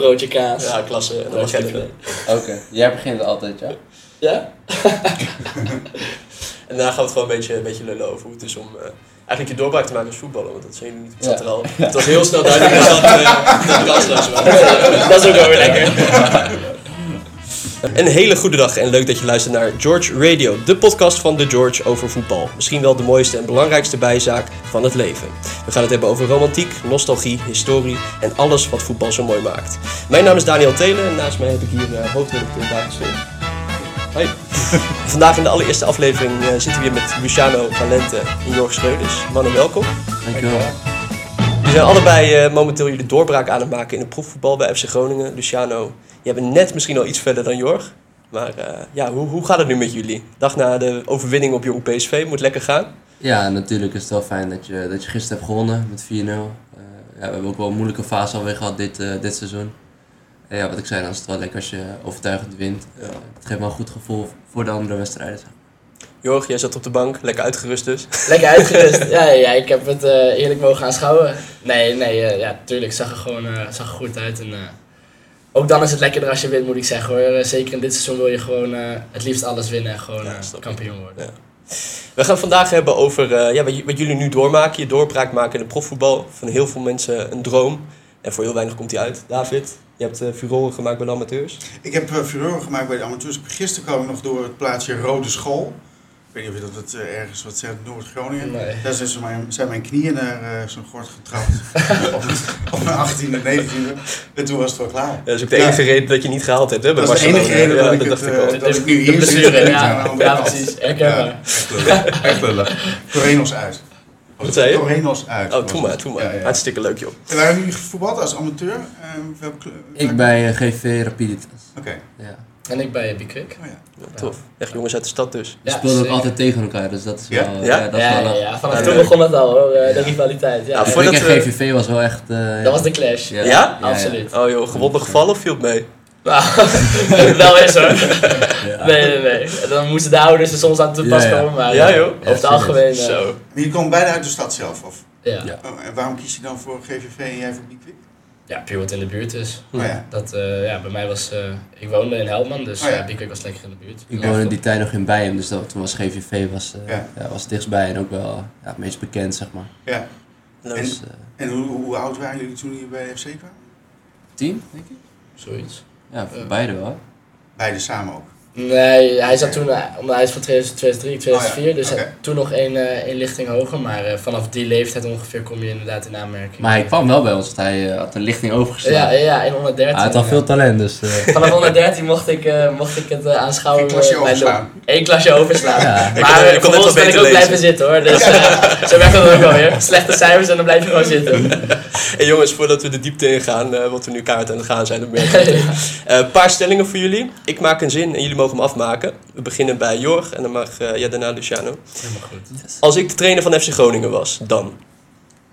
broodje kaas. Ja, klasse. Dat was Broodje ik kipfilet. Oké, jij begint altijd, ja? Ja? En daarna gaan we het gewoon een beetje, een beetje lullen over hoe het is om eh, eigenlijk je doorbraak te maken als voetballer. Want dat zijn jullie niet. Het zat Ja. er al. Het was heel snel duidelijk dat dat, eh, dat ik kansloos was. dat is ook wel weer lekker. Een hele goede dag en leuk dat je luistert naar George Radio, de podcast van The George over voetbal. Misschien wel de mooiste en belangrijkste bijzaak van het leven. We gaan het hebben over romantiek, nostalgie, historie en alles wat voetbal zo mooi maakt. Mijn naam is Daniel Telen en naast mij heb ik hier eh hoofdredacteur Daan Stol. Hoi. Vandaag in de allereerste aflevering eh, zitten we hier met Luciano Valente en Jorg Schreuders. Mannen, welkom. Dankjewel. Jullie zijn allebei eh, momenteel jullie doorbraak aan het maken in het proefvoetbal bij FC Groningen. Luciano, jij bent net misschien al iets verder dan Jorg. Maar eh, ja, hoe, hoe gaat het nu met jullie? Dag na de overwinning op jong PSV, moet lekker gaan. Ja, natuurlijk is het wel fijn dat je, dat je gisteren hebt gewonnen met 4-0. Eh, ja, we hebben ook wel een moeilijke fase alweer gehad dit, eh, dit seizoen. En ja, wat ik zei, dan is het wel lekker als je overtuigend wint. Ja. Eh, het geeft wel een goed gevoel voor de andere wedstrijden. zeg maar. Jorg, jij zat op de bank, lekker uitgerust dus. Lekker uitgerust. Ja, ja, ja, ik heb het eh, eerlijk mogen aanschouwen. Nee, nee, eh, ja, tuurlijk. Zag er gewoon eh, zag er goed uit. En, eh, ook dan is het lekkerder als je wint, moet ik zeggen hoor. Eh, Zeker in dit seizoen wil je gewoon eh, het liefst alles winnen en gewoon Ja, eh, snap ik. kampioen worden. Ja. We gaan het vandaag hebben over eh, ja, wat, j- wat jullie nu doormaken. Je doorbraak maken in het profvoetbal. Van heel veel mensen een droom. En voor heel weinig komt die uit. David, je hebt eh furoren gemaakt bij de amateurs. Ik heb eh furoren gemaakt bij de amateurs. Gisteren kwam ik nog door het plaatsje Rode School. Ik weet niet of je dat wat, eh, ergens wat zegt, Noord-Groningen. Nee. Daar zijn, ze mijn, zijn mijn knieën naar eh, zo'n gort getrapt. op, op mijn 18e, 19e. En toen was het wel klaar. Dat is ook de Ja. enige reden dat je niet gehaald hebt. Hè, bij Dat is de enige Barcelona. reden Ja, dat ik dacht het, ik al. eh, Dat ik nu De hier blessure, zit. ja. Ja, Ja, precies. Herkenbaar. Ja. Echt lullig. Echt lullig. Torenos uit. Wat zei je? Torenos uit. Oh, doe maar, doe maar. Ja, ja. Hartstikke leuk, joh. En waar hebben jullie gevoetbald als amateur? Eh, welke kleur? Ik bij eh, GV Rapiditas. Oké. Ja. En ik bij Bikrik. Oh, ja. Ja, tof. Echt jongens uit de stad dus. We speelden ook altijd tegen elkaar, dus dat is Ja? wel... Ja? dat is Ja, wel ja, een- ja, vanaf Ja, toen leuk. begon het al hoor, eh, de rivaliteit. Ja, Ja, ja. voor- Voordat Ik en we- GVV was wel echt... eh, ja. Dat was de clash. Ja? Ja? Absoluut. Oh joh, gewonnen gevallen of viel het mee? Nou, wel is hoor. Nee, nee, nee. Dan moesten de ouders er soms aan te pas Ja, ja. komen. Maar Ja, eh, joh. Over het Ja, algemeen. eh, Zo. Maar je komt beide uit de stad zelf. Of? Ja. Ja. Oh, en waarom kies je dan voor GVV en jij voor Bikwik? ja, puur wat in de buurt is. Oh ja. Dat, eh, ja, bij mij was, eh, ik woonde in Helman, dus Oh, oh, ja. was lekker in de buurt. Ik Ja, woonde in die tijd nog in Bijen, dus dat, toen was GVV was, eh, Ja. ja. was het dichtstbij en ook wel ja, het meest bekend, zeg maar. ja. Leuk. Dus, eh, En hoe, hoe oud waren jullie toen jullie bij de FC kwamen? tien, denk ik? Zoiets. Ja, voor Eh. beide wel. Beide samen ook. Nee, hij zat toen, eh, omdat hij is van 2003, 2004, Oh ja, dus oké. hij- toen nog één, eh, één lichting hoger. Maar eh, vanaf die leeftijd ongeveer kom je inderdaad in aanmerking. Maar hij kwam wel bij ons, want hij eh, had een lichting Ja, overgeslagen. ja, in onder 13. hij had al veel talent, dus... eh, Vanaf 113 mocht ik, eh, mocht ik het eh, aanschouwen. Geen klasje eh, bij overslaan. Lon. Eén klasje overslaan. Ja. Ik kon- ik Maar ik kon net wel vervolgens ben ik beter ook lezen. blijven zitten hoor. Dus eh, zo werkt dat ook alweer. Slechte cijfers en dan blijf je gewoon zitten. En jongens, voordat we de diepte ingaan, eh wat we nu kaart aan het gaan zijn, dan merk je. Eh, Een paar stellingen voor jullie. Ik maak een zin en jullie mogen hem afmaken. We beginnen bij Jorg en dan mag eh, ja, daarna Luciano. Helemaal goed. Als ik de trainer van FC Groningen was, dan.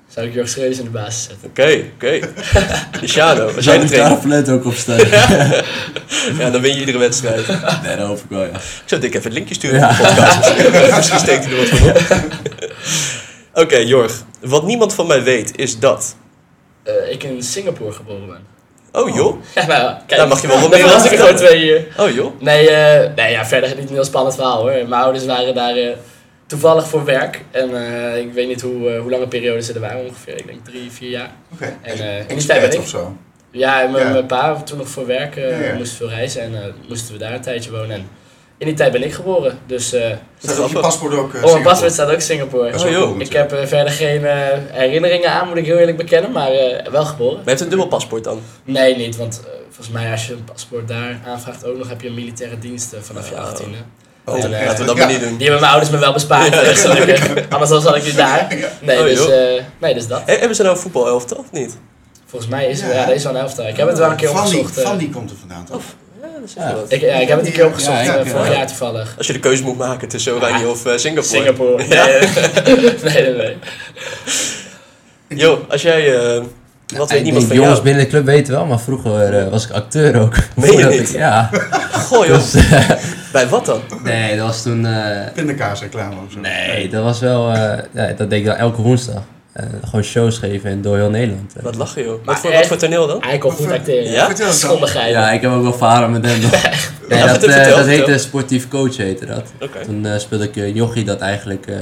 Zou ik Jorg Schreuders in de basis zetten? Oké, oké. Luciano, we als jij de zijn daar trainer een fluit ook op staan. Ja, dan win je iedere wedstrijd. Nee, dat hoop ik wel, ja. Ik zou dik even het linkje sturen op de podcast. Misschien steekt hij er wat van op. Oké, Jorg. Wat niemand van mij weet is dat... Eh, ik in Singapore geboren ben. Oh joh. Ja, nou, kijk. Daar mag je wel wat Dan mee was ik er gewoon laten. twee hier. Oh joh. Nee, eh, nee ja, verder niet een heel spannend verhaal hoor. Mijn ouders waren daar eh, toevallig voor werk. En eh, ik weet niet hoe, eh, hoe lange periode ze er waren ongeveer. Ik denk drie, vier jaar. Oké. En eh, in die tijd ben Expert ik of zo. Ja, en mijn Ja. mijn pa toen nog voor werk eh, Ja, ja. moest veel reizen en eh, moesten we daar een tijdje wonen. En in die tijd ben ik geboren, dus eh, Staat op je paspoort ook. eh, op Oh, mijn Singapore? paspoort staat ook Singapore. Dat is Oh, ook joh. goed, ik ja. heb eh, verder geen eh, herinneringen aan, moet ik heel eerlijk bekennen, maar eh, wel geboren. Maar je hebt een dubbel paspoort dan. Oh, Nee, niet, want eh, volgens mij als je een paspoort daar aanvraagt ook nog, heb je een militaire dienst eh, vanaf je Oh. 18e. Oh, En, eh, laten we dat ja. maar niet doen. Die hebben mijn ouders me wel bespaard, eh, gelukkig. Anders dan zat ik nu daar. Nee, Oh, dus, joh. eh, nee, dus dat. He- hebben ze nou een voetbalelftal of niet? Volgens mij is Ja. er, ja, deze wel een elftal. Ik heb het wel een keer van die, opgezocht. eh. Oh. van die komt er vandaan toch? Ja, dat is Ja. wel wat. Ik, ja, ik heb het een keer opgezocht Ja, ik eh, ook, ja. vorig jaar toevallig. Als je de keuze moet maken tussen Oranje of eh, Singapore. Singapore. Nee, nee, nee. Jo, als jij... eh, wat weet ik niemand denk, van jongens jou? binnen de club weten wel, maar vroeger eh, was ik acteur ook. Meen je Voordat niet? ik- ja. Goh joh. Dus, eh, Bij wat dan? nee, dat was toen... eh, Pindakaasreclame of zo. nee, dat was wel... eh, ja, dat deed ik dan elke woensdag. eh, gewoon shows geven en door heel Nederland. eh. Wat lachen joh. Wat Maar voor, echt? wat voor toneel dan? Hij kon goed acteren. Ja? Vertel het dan. Schondigheid. Ja, ik heb ook wel varen met hem. nog. Nee, Ja, dat, vertel, eh, vertel, dat vertel. heette sportief coach, heette dat. Oké. Toen eh, speelde ik eh, jochie dat eigenlijk eh,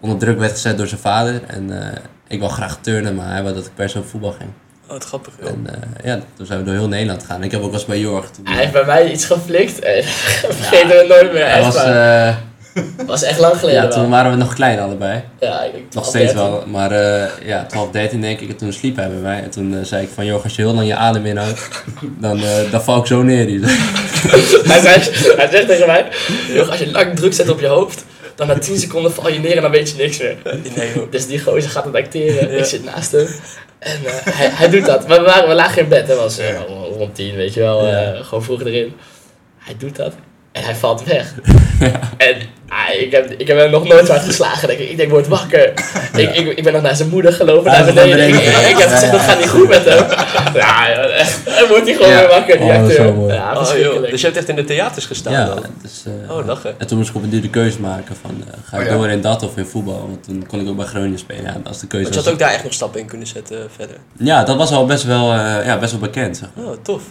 onder druk werd gezet door zijn vader. En eh, ik wou graag turnen, maar hij wou dat ik per se op voetbal ging. Oh, wat grappig joh. En eh, ja, toen zijn we door heel Nederland gegaan. En Ik heb ook wel eens bij Jorg. Toen, Hij heeft bij mij iets geflikt. en Vergeet het nooit meer. hij Echt was, waar. eh, was echt lang geleden ja, wel. toen waren we nog klein allebei. Ja, ik denk Nog 12, steeds 13. wel, maar eh, ja, 12, 13 denk ik. En toen sliep hij bij mij. En toen eh, zei ik van, joh, als je heel lang je adem inhoudt, dan, eh, dan val ik zo neer. hier. hij, zegt, hij zegt tegen mij, "Joch, als je lang druk zet op je hoofd, dan na 10 seconden val je neer en dan weet je niks meer. Nee joh. Dus die gozer gaat het acteren, Ja. ik zit naast hem. En eh, hij, hij doet dat. Maar we, waren, we lagen in bed, hè, was eh, rond 10, weet je wel, Ja. eh, gewoon vroeg erin. Hij doet dat en hij valt weg. En ah, ik, heb, ik heb hem nog nooit zo hard geslagen. denk Ik, ik denk, word wakker. Ik, ik, ik ben nog naar zijn moeder gelopen, Hij naar is naar beneden. Ik, beneden ik- ik heb gegaan. gezegd, dat gaat niet goed met hem. Ja, joh, echt. En wordt hij gewoon Ja. weer wakker, die Oh, dat is acteur. zo mooi. Ja, Oh, verschrikkelijk. joh. Dus je hebt echt in de theaters gestaan Ja, dan? dus, eh, Oh, lachen. En toen moest ik op een duur de keuze maken van, eh, ga ik Oh, ja. door in dat of in voetbal? Want toen kon ik ook bij Groningen spelen. Ja, als de keuze Want Dus je was, had ook daar echt nog stappen in kunnen zetten eh, verder. ja, dat was al best wel, eh, ja, best wel bekend. Zeg. Oh, tof.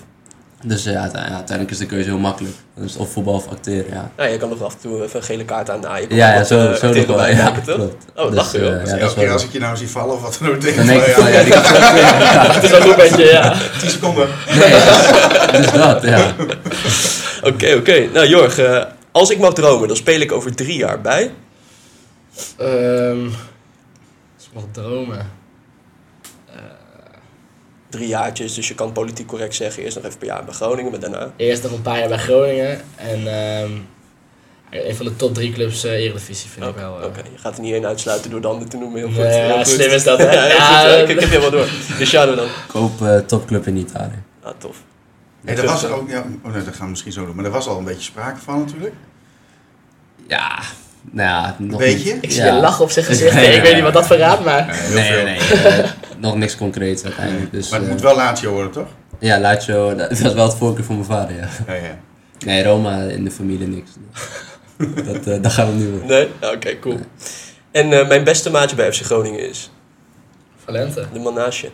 Dus eh, ja, uite- ja, uiteindelijk is de keuze heel makkelijk. Dan is het of voetbal of acteren, ja. Nou, je kan nog af en toe even een gele kaart aan naaien. Je Ja, kan ja, wat, zo, eh, zo nog acteren wel. bij ja, maken, toch? klopt. Oh, Dus, lachen, eh, joh. ja, dat is Elke wel... keer als ik je nou zie vallen, wat dan ook denk Dan ik denk ik van, van, ja, ja, die kan zo Het is wel goed met je, ja. 10 seconden. Nee, ja, dus dat, ja. Oké, oké. Nou, Jorg, eh, als ik mag dromen, dan speel ik over drie jaar bij. Ehm, als ik mag dromen. Drie jaartjes, dus je kan politiek correct zeggen. Eerst nog even per jaar bij Groningen, maar daarna. Eerst nog een paar jaar bij Groningen. En ehm, een van de top drie clubs eh Eredivisie vind Oké, ik wel. eh. Oh, oké. je gaat er niet één uitsluiten door de ander te noemen. Heel goed. Nee, ja, heel goed. slim is dat, hè? ja, heel Ja, goed, hè? dat- ik, ik heb helemaal door. Dus Shadow dan. Koop eh, topclub in Italië. Ah, tof. Nee, dat was ook, ja, oh nee, dat gaan we misschien zo doen. Maar er was al een beetje sprake van natuurlijk. Ja, nou ja, nog Weet niet. je? Ik zie Ja. een lach op zijn gezicht. Nee, ik ja, weet ja. niet wat dat verraadt, maar... Heel Nee, veel. nee, eh, nog niks concreets uiteindelijk. Dus, maar het eh, moet wel Lazio worden, toch? Ja, Lazio, dat, dat is wel het voorkeur voor mijn vader, ja. Ja, ja. Nee, Roma in de familie niks. dat, eh dat gaan we niet doen. Nee? Ah, Oké, cool. En eh, mijn beste maatje bij FC Groningen is Valente. de man naast je.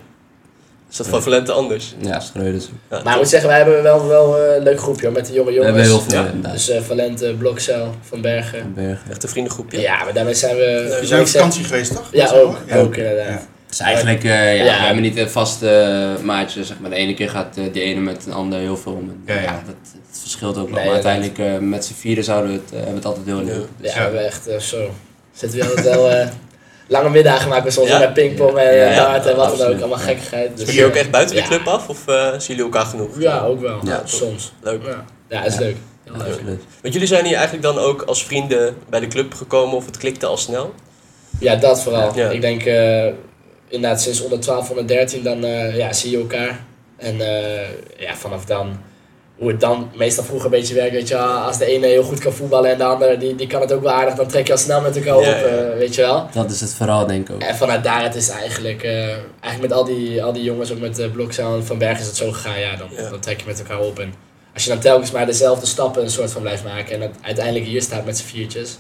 Is dat van Valente anders? Ja, Schreuders. Ja, Maar ik tof. moet zeggen, wij hebben wel, wel eh, een leuk groepje hoor, met de jonge We jongens. hebben heel veel Ja. inderdaad. Dus eh, Valente, Blokcel, Van Bergen. Van Bergen. Echt een vriendengroepje. Ja, maar daarmee zijn we... Je moet Eh, ik zijn op zeggen- vakantie geweest, toch? Ja, ook. Ja. Ook inderdaad. Ja. Dus eigenlijk, eh, ja, Ja. we hebben niet een vast eh, maatje. Zeg maar. De ene keer gaat eh, de ene met de ander heel veel om. En, Ja, ja. dat, het verschilt ook Nee, wel. maar dat- uiteindelijk eh, met z'n vieren zouden we het, eh, hebben we het altijd heel leuk. Ja, Dus, we hebben echt eh, zo... Zitten we altijd wel... eh, Lange middagen gemaakt met soms Ja. met pingpong en Ja, eh, ja, kaart en wat dan absoluut. ook. Allemaal gekkigheid. Dus, Speel je ook eh, echt buiten de ja. club af? Of eh, zien jullie elkaar genoeg? Ja, ook wel. Ja. soms. Leuk. Ja, ja is Ja. leuk. Heel Ja, leuk. absoluut. Want jullie zijn hier eigenlijk dan ook als vrienden bij de club gekomen of het klikte al snel? Ja, dat vooral. Ja. Ik denk eh, inderdaad sinds onder 12, onder 13 dan eh, ja, zie je elkaar. En eh, ja, vanaf dan, hoe het dan meestal vroeger een beetje werkt, weet je wel. Als de ene heel goed kan voetballen en de andere die, die kan het ook wel aardig, dan trek je al snel met elkaar op, Ja, ja. eh, weet je wel. Dat is het verhaal, denk ik ook. En vanuit daaruit is het eigenlijk, eh, eigenlijk met al die, al die jongens, ook met eh Blokzaal en Van Berg is het zo gegaan. Ja dan, Ja. dan trek je met elkaar op. En als je dan telkens maar dezelfde stappen een soort van blijft maken en dat uiteindelijk hier staat met z'n viertjes.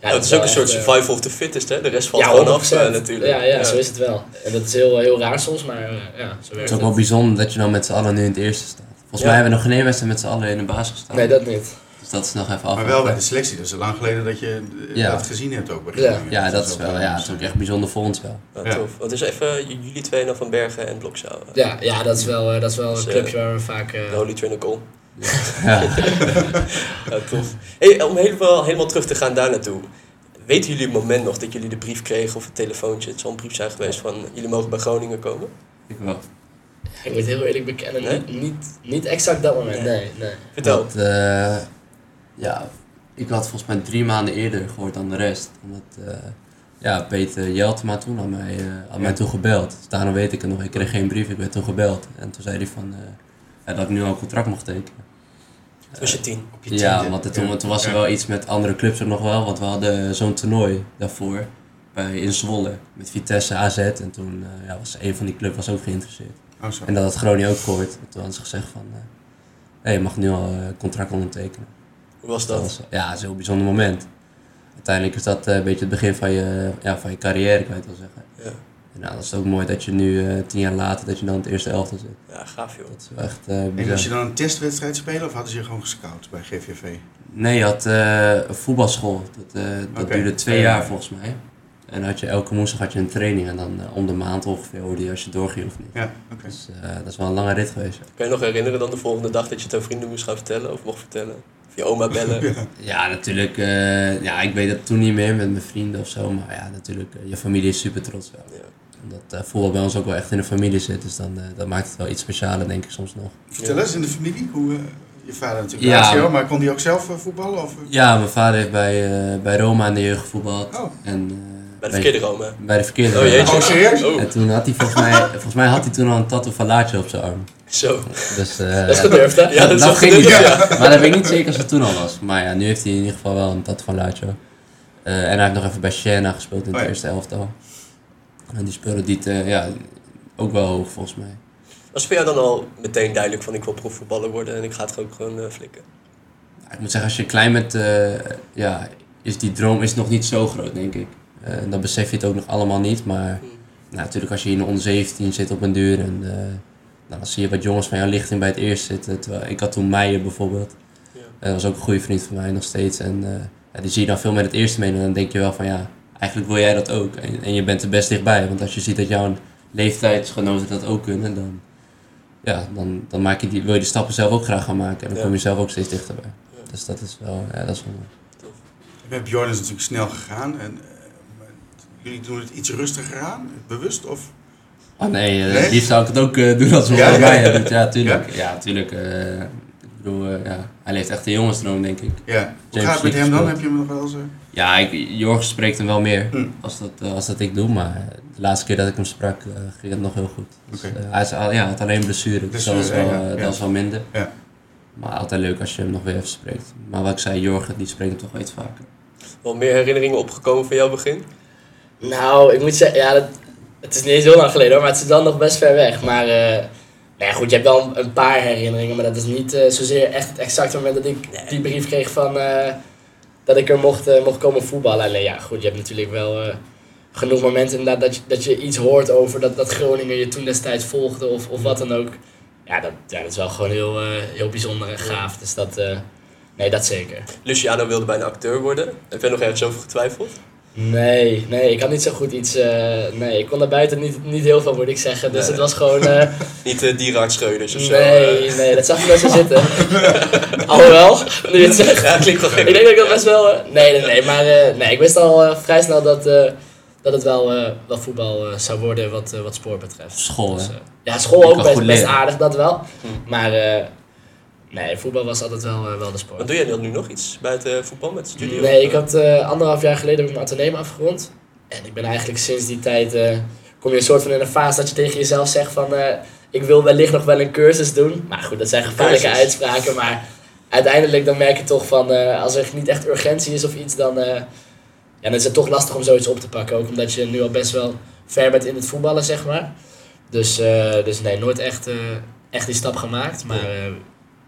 Ja, Ja, het is wel ook een soort echt, eh, survival of the fittest, hè? De rest valt ja, gewoon 100%. af eh, natuurlijk. Ja, ja, zo is het wel. En dat is heel, heel raar soms, maar eh, ja, zo Het werkt is ook het. wel bijzonder dat je nou met z'n allen nu in het eerste staat. Volgens Ja. mij hebben we nog geen één wedstrijd met z'n allen in de baas gestaan. Nee, dat niet. Dus dat is nog even Maar wel bij de afwachten. selectie. Dat is lang geleden dat je eh, Ja. dat gezien hebt ook. Bij Ja. Groningen. Ja, dat is ook wel. Ja, het is ook echt bijzonder voor ons wel. Ja, Ja. tof. Wat is even j- jullie twee nou van Bergen en Blokzaal? eh, Ja, ja dat is wel, eh, dat is wel Dus, een eh, clubje waar we vaak... eh, De Holy Trinity. Ja. Ja, tof. Hey, om helemaal, helemaal terug te gaan daar naartoe. Weten jullie het moment nog dat jullie de brief kregen of het telefoontje? Het zal een brief zijn geweest van jullie mogen bij Groningen komen. Ik wel. ik moet heel eerlijk bekennen, Nee? niet, niet, niet exact dat moment. Nee. Nee, nee. Vertel. Want, eh, ja, ik had volgens mij drie maanden eerder gehoord dan de rest. Omdat eh, ja, Peter Jeltema toen had mij, eh, had mij toen gebeld. Dus daarom weet ik het nog. Ik kreeg geen brief, ik werd toen gebeld. En toen zei hij van, eh, ja, dat ik nu al een contract mocht tekenen. Toen was je tien. Op je Ja, tiende. want het- Ja. toen, toen was er Ja. wel iets met andere clubs ook nog wel. Want we hadden zo'n toernooi daarvoor bij, in Zwolle met Vitesse AZ. En toen eh, ja, was een van die clubs was ook geïnteresseerd. Oh, zo. En dat had Groningen ook gehoord. En toen hadden ze gezegd van, eh, hey, je mag nu al eh, contract ondertekenen. Hoe was Dat dat? was, ja, dat is een heel bijzonder moment. Uiteindelijk is dat eh, een beetje het begin van je, ja, van je carrière, kan je het wel zeggen. Ja. En nou, dat is ook mooi dat je nu eh, tien jaar later dat je dan in het eerste elftal zit. Ja, gaaf joh. Dat is wel echt eh, En moest je bizar. dan een testwedstrijd spelen of hadden ze je gewoon gescout bij GVV? Nee, je had eh, een voetbalschool. Dat, eh, dat Oké. duurde twee Ja. jaar volgens mij. En had je, elke woensdag had je een training en dan eh, om de maand ongeveer hoorde je als je doorging of niet. Ja, oké. Dus eh, dat is wel een lange rit geweest. Kan je nog herinneren dan de volgende dag dat je het aan vrienden moest gaan vertellen of mocht vertellen? Of je oma bellen? Ja, natuurlijk. eh, ja, ik weet dat toen niet meer met mijn vrienden of zo. Maar ja, natuurlijk, eh, je familie is super trots wel. Ja. Omdat eh, voetbal bij ons ook wel echt in de familie zit. Dus dan, eh, dat maakt het wel iets specialer, denk ik soms nog. Vertel Ja. eens in de familie hoe. eh, je vader natuurlijk Ja. ratio, maar kon hij ook zelf eh, voetballen? Of? Ja, mijn vader heeft bij, eh, bij Roma in de jeugd gevoetbald. Oh. En, eh, Bij de verkeerde Rome. Bij de verkeerde. Oh jeetje. Oh, serieus? Oh, En toen had hij volgens mij, volgens mij had hij toen al een tattoo van Laatje op zijn arm. zo. Dus eh, Dat is gedurfd, hè? Ja, dat is wel dat ging niet. gedurfd, ja. Maar dat weet ik niet zeker als het toen al was. Maar ja, nu heeft hij in ieder geval wel een tattoo van Laatje. Eh, en hij heeft nog even bij Siena gespeeld in het Oh ja. eerste elftal. En die speelde die eh, ja, ook wel hoog volgens mij. Was voor jou dan al meteen duidelijk van ik wil profvoetballer worden en ik ga het ook gewoon eh, flikken? Ja, ik moet zeggen, als je klein bent, eh, ja, is die droom is nog niet zo groot, denk ik. Eh, en dan besef je het ook nog allemaal niet. Maar Hmm. nou, natuurlijk als je in de onder 17 zit op een duur en eh, nou, dan zie je wat jongens van jouw lichting bij het eerst zitten. Terwijl, ik had toen Meijer bijvoorbeeld. Ja. En dat was ook een goede vriend van mij nog steeds. En eh, ja, die zie je dan veel met het eerste meedoen. En dan denk je wel van ja, eigenlijk wil jij dat ook. En, en je bent er best dichtbij. Want als je ziet dat jouw leeftijdsgenoten dat ook kunnen, dan, ja, dan, dan maak je die, wil je die stappen zelf ook graag gaan maken. En dan Ja. kom je zelf ook steeds dichterbij. Ja. Dus dat is wel, ja, dat is wel mooi. Met Bjorn is het natuurlijk snel gegaan. En, eh, maar jullie doen het iets rustiger aan, bewust? Of? Oh nee, eh, Nee? het liefst zou ik het ook eh, doen als we Ja, ja, ja. mij hebben. Ja, tuurlijk. Ja, tuurlijk. eh, ik bedoel, eh, ja, hij leeft echt een jongensdroom, denk ik. Ja. Hoe James gaat het met League hem dan? gespeeld. Heb je hem nog wel eens... eh, Ja, ik, Jorg spreekt hem wel meer Mm. als, dat, eh, als dat ik doe, maar eh, de laatste keer dat ik hem sprak eh, ging het nog heel goed. Dus, Oké. eh, hij is al, ja, had alleen blessure, dus dat was wel, Blessure, ja, eh, ja. dat was wel minder. Ja. Maar altijd leuk als je hem nog weer even spreekt. Maar wat ik zei, Jorg die spreekt hem toch wel iets vaker. Wel meer herinneringen opgekomen van jouw begin? Nou, ik moet zeggen, ja, dat, het is niet eens heel lang geleden hoor, maar het is dan nog best ver weg. Maar eh nou ja, goed, je hebt wel een, een paar herinneringen, maar dat is niet eh, zozeer echt het exacte moment dat ik die brief kreeg van eh, dat ik er mocht, eh, mocht komen voetballen. Alleen ja, goed, je hebt natuurlijk wel eh, genoeg momenten inderdaad dat je, dat je iets hoort over dat, dat Groningen je toen destijds volgde of, of wat dan ook. Ja dat, ja, dat is wel gewoon heel, eh, heel bijzonder en gaaf. Dus dat, eh, nee, dat zeker. Luciano wilde bijna acteur worden. Heb jij nog ergens over getwijfeld? Nee, nee, ik had niet zo goed iets. eh, nee, ik kon daar buiten niet, niet heel veel, moet ik zeggen. Dus Nee. het was gewoon. eh, Niet uh, dierenarts Schreuders of zo? nee, eh. nee, dat zag ik best wel zitten. Alhoewel, nu je het zegt. Ja, klinkt wel gek. Ik denk dat ik dat best wel. eh, nee, nee, nee, maar eh, nee, ik wist al eh, vrij snel dat, eh, dat het wel, eh, wel voetbal eh, zou worden wat, eh, wat spoor betreft. School, Dus, hè? eh, ja, school Je ook kan best, goed best leren. aardig, dat wel. Hm. Maar eh, nee, voetbal was altijd wel, eh, wel de sport. Wat doe jij dan nu nog iets buiten voetbal met studie? Nee, ik had eh, anderhalf jaar geleden heb ik mijn ateneum afgerond. En ik ben eigenlijk sinds die tijd, eh, kom je een soort van in een fase dat je tegen jezelf zegt van, eh, ik wil wellicht nog wel een cursus doen. Maar goed, dat zijn gevaarlijke Cursus. uitspraken, maar uiteindelijk dan merk je toch van, eh, als er niet echt urgentie is of iets, dan, eh, ja, dan is het toch lastig om zoiets op te pakken. Ook omdat je nu al best wel ver bent in het voetballen, zeg maar. Dus, eh, dus nee, nooit echt, eh, echt die stap gemaakt, maar... eh,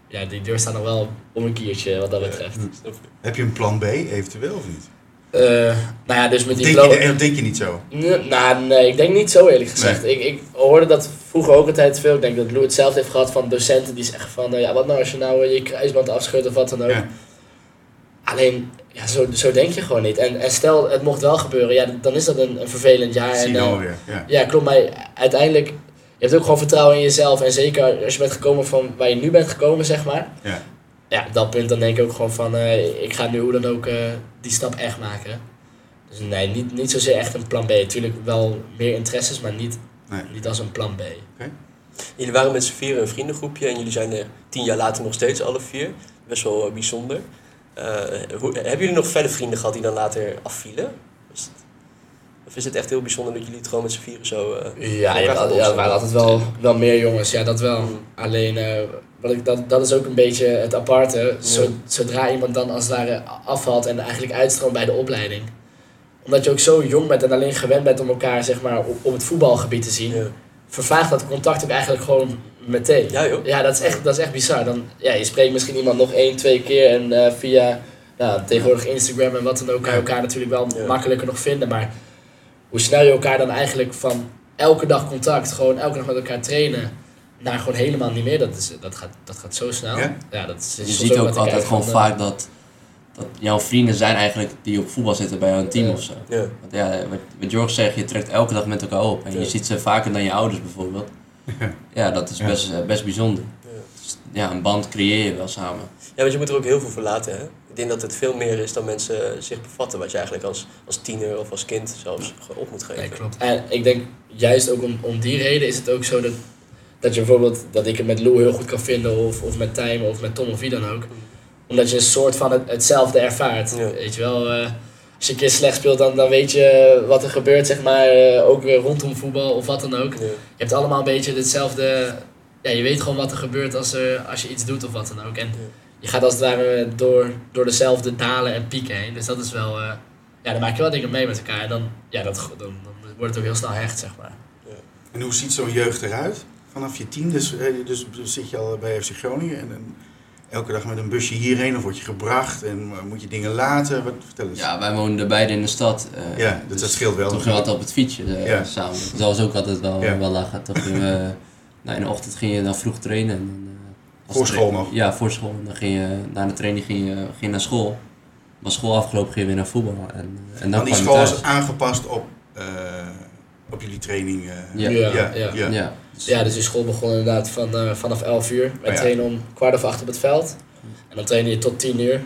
ja, die deur staat nog wel om een kiertje wat dat betreft. Snap je? Heb je een plan B eventueel of niet? Eh, nou ja, dus met die Denk blauwe- je, eh, denk je niet zo? Nee, nou, nee, ik denk niet zo eerlijk gezegd. Ik, ik hoorde dat vroeger ook altijd veel. Ik denk dat Lou het zelf heeft gehad van docenten die zeggen van... eh, ja, wat nou als je nou eh, je kruisband afscheurt of wat dan ook. Ja. Alleen, ja, zo, zo denk je gewoon niet. En, en stel, het mocht wel gebeuren. Ja, dan is dat een, een vervelend jaar. Zie en, je dan eh, alweer. Ja. ja, klopt. Maar uiteindelijk, je hebt ook gewoon vertrouwen in jezelf. En zeker als je bent gekomen van waar je nu bent gekomen, zeg maar. Ja. Ja, op dat punt dan denk ik ook gewoon van... eh, ik ga nu hoe dan ook eh, die stap echt maken. Dus nee, niet, niet zozeer echt een plan B. Tuurlijk wel meer interesses, maar niet, Nee. niet als een plan B. Jullie waren met z'n vieren een vriendengroepje en jullie zijn er tien jaar later nog steeds alle vier. Best wel eh, bijzonder. Eh, hoe, hebben jullie nog verder vrienden gehad die dan later afvielen? Is het- of is het echt heel bijzonder dat jullie het gewoon met z'n vieren zo... eh, Ja, elkaar je hebt al- ja, er gaan opzoeken? waren altijd wel, wel meer jongens. Ja, dat wel. Mm. Alleen, eh, wat ik, dat, dat is ook een beetje het aparte. Zo, Zodra iemand dan als het ware afvalt en eigenlijk uitstroomt bij de opleiding. Omdat je ook zo jong bent en alleen gewend bent om elkaar zeg maar, op, op het voetbalgebied te zien. Ja. Vervaagt dat contact ook eigenlijk gewoon meteen. Ja, joh. Ja, dat is echt, dat is echt bizar. Dan, ja, je spreekt misschien iemand nog één, twee keer en eh, via nou, tegenwoordig Instagram en wat dan ook kan je elkaar natuurlijk wel Ja. makkelijker nog vinden. Maar hoe snel je elkaar dan eigenlijk van elke dag contact, gewoon elke dag met elkaar trainen, naar gewoon helemaal niet meer. Dat, is, dat, gaat, dat gaat zo snel. Ja? Ja, dat is, Je is soms ziet ook wat ik altijd kijk gewoon van, eh, vaak dat, dat jouw vrienden zijn eigenlijk die op voetbal zitten bij jouw team Ja. of zo. Ja. Want ja, wat, wat Jorg zegt, je trekt elke dag met elkaar op. En Ja. je ziet ze vaker dan je ouders bijvoorbeeld. Ja. Ja, dat is Ja. best, eh, best bijzonder. Ja. Dus ja, een band creëer je wel samen. ja, want je moet er ook heel veel voor laten. Hè? Ik denk dat het veel meer is dan mensen zich bevatten. Wat je eigenlijk als, als tiener of als kind zelfs gewoon op moet geven. Nee, klopt. En ik denk juist ook om, om die reden is het ook zo dat, dat je bijvoorbeeld dat ik het met Lou heel goed kan vinden, of, of met Tijmen, of met Tom of wie dan ook. Omdat je een soort van het, hetzelfde ervaart. Ja. Weet je wel, eh, als je een keer slecht speelt, dan, dan weet je wat er gebeurt, zeg maar, eh, ook weer rondom voetbal of wat dan ook. Ja. Je hebt allemaal een beetje hetzelfde. Ja, je weet gewoon wat er gebeurt als, er, als je iets doet of wat dan ook. En Ja. je gaat als het ware door, door dezelfde dalen en pieken heen. Dus dat is wel. eh, ja, dan maak je wel dingen mee met elkaar. En dan, ja, dat, dan, dan wordt het ook heel snel hecht, zeg maar. En hoe ziet zo'n jeugd eruit? Vanaf je team, dus, eh, dus zit je al bij FC Groningen en, en elke dag met een busje hierheen of word je gebracht en eh, moet je dingen laten? Wat, vertel eens. Ja, wij woonden beide in de stad. eh, Dus Ja, dus dat scheelt wel. Toen gingen we altijd op het fietsje eh, Ja. samen. Dus dat was ook altijd wel, Ja. wel lachen. Toch, we, nou, in de ochtend ging je dan vroeg trainen. En, dan, eh, als Voor de tra- school nog? Ja, voor school. En Dan ging je, na de training ging je, ging je naar school. Was school afgelopen, ging je weer naar voetbal. En, eh, en dan Want die kwam je school thuis. is aangepast op, eh, op jullie training. eh. Ja. ja. ja. ja. Ja. Dus- Ja, dus je school begon inderdaad van, eh, vanaf 11 uur. Wij Oh ja. trainen om kwart of acht op het veld. En dan trainde je tot 10 uur.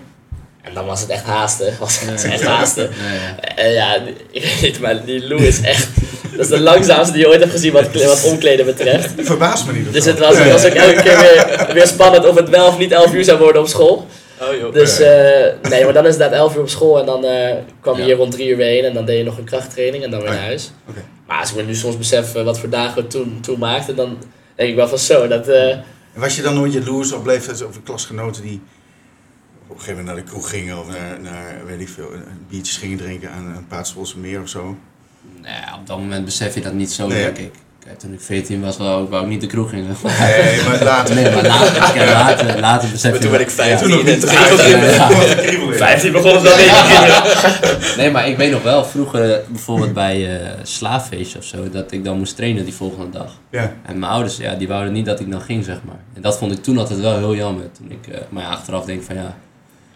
En dan was het echt haasten. Was het Ja. echt haasten. Ja, ja. En ja, ik weet niet, maar die Lou is echt. Dat is de langzaamste die je ooit hebt gezien wat, kle- wat omkleden betreft. Die verbaast me niet. of Dus zo. het was, Nee. was ook elke keer weer, weer spannend of het wel of niet 11 uur zou worden op school. Oh joh. Dus eh, nee, maar dan is het inderdaad 11 uur op school en dan eh, kwam je Ja. hier rond 3 uur weer heen en dan deed je nog een krachttraining en dan weer Oh ja. naar huis. Oké. Maar als ik me nu soms besef eh, wat voor dagen we toen, toen maakten, dan denk ik wel van zo. Dat, eh, En was je dan nooit jaloers op leeftijd over klasgenoten die op een gegeven moment naar de kroeg gingen of naar, naar weet ik veel, eh, biertjes gingen drinken aan een Paatswolse meer of zo? Nou ja, op dat moment besef je dat niet zo, Nee. denk ik. Kijk, toen ik 14 was, wou, wou ik niet de kroeg in. Nee, maar later. Nee, maar later, kijk, later, later besef Maar je toen wel- ben ik Ja. 15 Toen nog en niet. toen Toen ging ik ook Ja, in. ja. begon het dan Nee, maar ik weet nog wel, vroeger eh, bijvoorbeeld bij eh slaafeest of zo, dat ik dan moest trainen die volgende dag. Ja. En mijn ouders, ja, die wouden niet dat ik dan ging, zeg maar. En dat vond ik toen altijd wel heel jammer. Toen ik, eh, maar ja, achteraf denk ik van ja,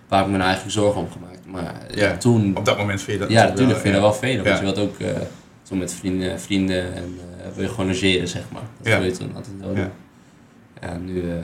waar heb ik me nou eigenlijk zorgen om gemaakt. Maar eh, Ja, toen, Op dat moment vind je dat ja, natuurlijk vind je dat wel veel. Ja. Want je wilt ook eh, toen met vrienden, vrienden en eh, wil je gewoon logeren, zeg maar. Dat Ja. wil je toen altijd wel Ja. doen. Ja, nu, eh,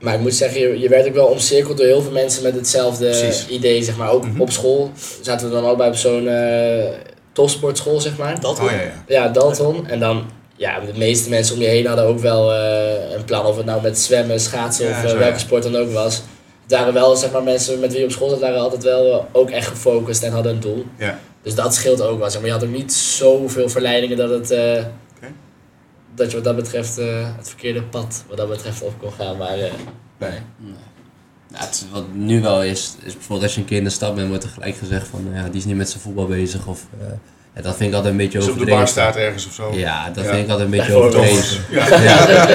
Maar ik moet zeggen, je, je werd ook wel omcirkeld door heel veel mensen met hetzelfde Precies. idee, zeg maar. Ook Mhm. op school zaten we dan allebei op zo'n eh topsportschool, zeg maar. Dat Oh hoor. ja, ja. Ja, Dalton. En dan, ja, de meeste mensen om je heen hadden ook wel eh, een plan. Of het nou met zwemmen, schaatsen Ja, of eh, zo, ja. welke sport dan ook was. Het waren wel, zeg maar, mensen met wie je op school zat, waren altijd wel eh, ook echt gefocust en hadden een doel. Ja. Dus dat scheelt ook wel. Zeg maar je had ook niet zoveel verleidingen dat het... eh, Oké. Dat je wat dat betreft eh, het verkeerde pad wat dat betreft op kon gaan. Maar eh, Nee. nou, nou, het, is- wat nu wel is, is bijvoorbeeld als je een keer in de stad bent, wordt er gelijk gezegd van, nou ja, die is niet met zijn voetbal bezig. Of, eh, ja, dat vind ik altijd een beetje Als je Dus op de overdreven. bar staat ergens of zo. Ja, dat Ja. vind ik altijd een beetje Daarvoor overdreven. Ja. Ja,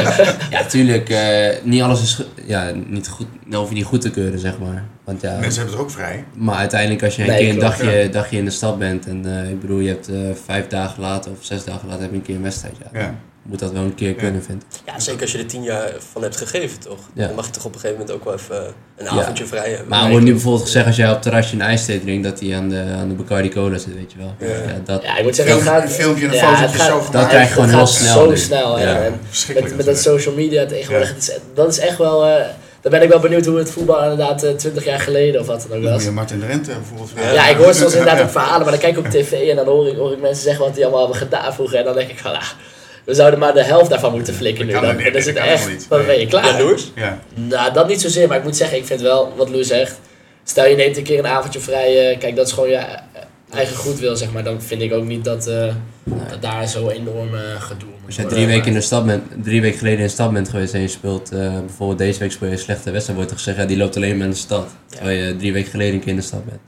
ja tuurlijk. eh, niet alles is ge- ja, niet goed, dan hoef je niet goed te keuren, zeg maar. Want ja, Mensen hebben het ook vrij. maar uiteindelijk als je een Nee, keer een klopt, dagje, dagje in de stad bent en eh, ik bedoel, je hebt eh, vijf dagen later of zes dagen later heb je een keer een wedstrijd. Ja, Ja. Moet dat wel een keer kunnen, vind ik. Ja, zeker als je er tien jaar van hebt gegeven, toch? Ja. Dan mag je toch op een gegeven moment ook wel even eh, een Ja. avondje vrij hebben. Maar er wordt nu bijvoorbeeld gezegd als jij op het terrasje een ijsthee drinkt, dat hij aan de, aan de Bacardi Cola zit, weet je wel. Ja. Ja, dat, ja, ik moet zeggen, Film, het een gaat, filmpje en een Ja, het fotootje gaat- zo dat gemaakt. krijg je gewoon het heel gaat snel zo nu. snel. hè. Ja. En- Verschrikkelijk Met, met dat natuurlijk. social media tegenwoordig, Ja. het is, dat is echt wel... eh, daar ben ik wel benieuwd hoe het voetbal inderdaad eh, 20 jaar geleden of wat dan ook Dan moet was. je Martin de Rente bijvoorbeeld vragen. Ja, ik hoor soms inderdaad Ja. ook verhalen, maar dan kijk ik op tv en dan hoor ik, hoor ik mensen zeggen wat die allemaal hebben gedaan vroeger. En dan denk ik van, ah, we zouden maar de helft daarvan moeten flikken nu. Dat Dan, kan niet, dan is dat het kan helemaal echt, niet. dan ben je klaar. Jaloers? Ja. Nou, dat niet zozeer, maar ik moet zeggen, ik vind wel wat Lou zegt. Stel je neemt een keer een avondje vrij, eh, kijk, dat is gewoon je eh, eigen goed wil, zeg maar. Dan vind ik ook niet dat, eh, dat daar zo enorm eh, gedoe om moet Als je worden. drie Maar- weken, in de stad bent, drie weken geleden in de stad bent geweest en je speelt eh, bijvoorbeeld deze week speel je een slechte wedstrijd, wordt er gezegd, ja, die loopt alleen maar in de stad. Terwijl je drie weken geleden een keer in de stad bent.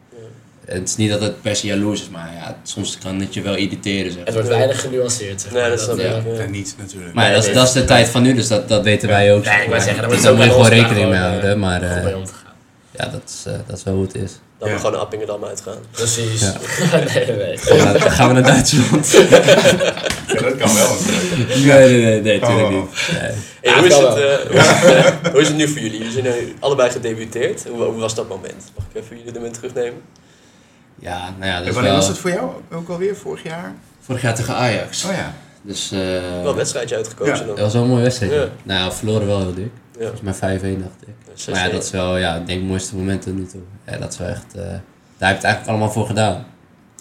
Het is niet dat het per se jaloers is, maar ja, soms kan het je wel irriteren. Zeg. Het wordt weinig genuanceerd, zeg maar. Nee, dat snap eh, ik. Ja, ja. niet natuurlijk. Maar ja, dat, is, dat is de tijd van nu, dus dat, dat weten wij ook. Ja, ik wou zeggen, daar Dus moet daar je moet je ook gewoon bij ons rekening mee maar gewoon, houden. Maar goed eh, bij om te gaan. ja, dat is, eh, dat is wel hoe het is. Dan we Ja. gewoon naar Appingedam uitgaan. Precies. Ja. nee, nee. Ja, dan gaan we naar Duitsland? Ja, dat kan wel. Nee, nee, nee, nee, tuurlijk Oh. niet. Nee. Hey, Ja, hoe, is kan het, eh, hoe, is het, eh, hoe is het nu voor jullie? Jullie zijn nu allebei gedebuteerd. Hoe, hoe was dat moment? Mag ik even jullie moment terugnemen? Ja, nou ja, dat En is wanneer wel... was Oh het voor jou ook alweer? Vorig jaar? Vorig jaar tegen Ajax. Oh ja. Dus Wel een eh wedstrijdje uitgekozen Ja. dat dan. was wel een mooie wedstrijd. ja. Ja. Nou, we verloren wel heel dik. Ja. Volgens mij 5-1 dacht ik. Zes- Maar ja, dat is wel, ja, ik denk het mooiste moment tot nu toe. Ja, dat is wel echt... eh, daar heb je het eigenlijk allemaal voor gedaan.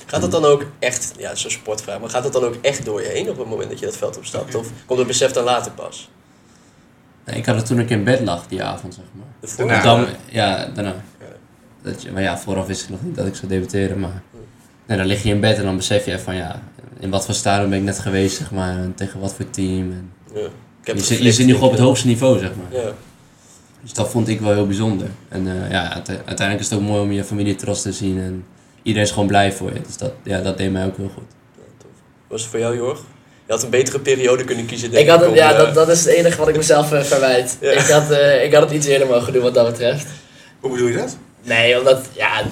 Gaat dat dan ook echt, ja, zo'n sportvraag, maar gaat dat dan ook echt door je heen op het moment dat je dat veld opstapt? Mhm. Of komt dat besef dan later pas? Nee, ik had het toen ik in bed lag die avond, zeg maar. De voor- Daarna. Ja. Dan, ja, daarna. Dat je, maar ja, vooraf wist ik nog niet dat ik zou debuteren, maar... Nee, dan lig je in bed en dan besef je van, ja, in wat voor stadion ben ik net geweest, zeg maar. En tegen wat voor team. En Ja. Ik heb je, het zit, je geflikt. zit nu gewoon op het hoogste niveau, zeg maar. Ja. Dus dat vond ik wel heel bijzonder. En eh, ja, uite- uiteindelijk is het ook mooi om je familie trots te zien. En iedereen is gewoon blij voor je. Dus dat, ja, dat deed mij ook heel goed. Ja, tof. Was het voor jou, Jorg? Je had een betere periode kunnen kiezen, denk Ik ik. had het, om, ja, eh, dat, dat is het enige wat ik mezelf eh, verwijt. Ja. Ik, had, eh, ik had het iets eerder mogen doen wat dat betreft. Hoe bedoel je dat? Nee, omdat, ja,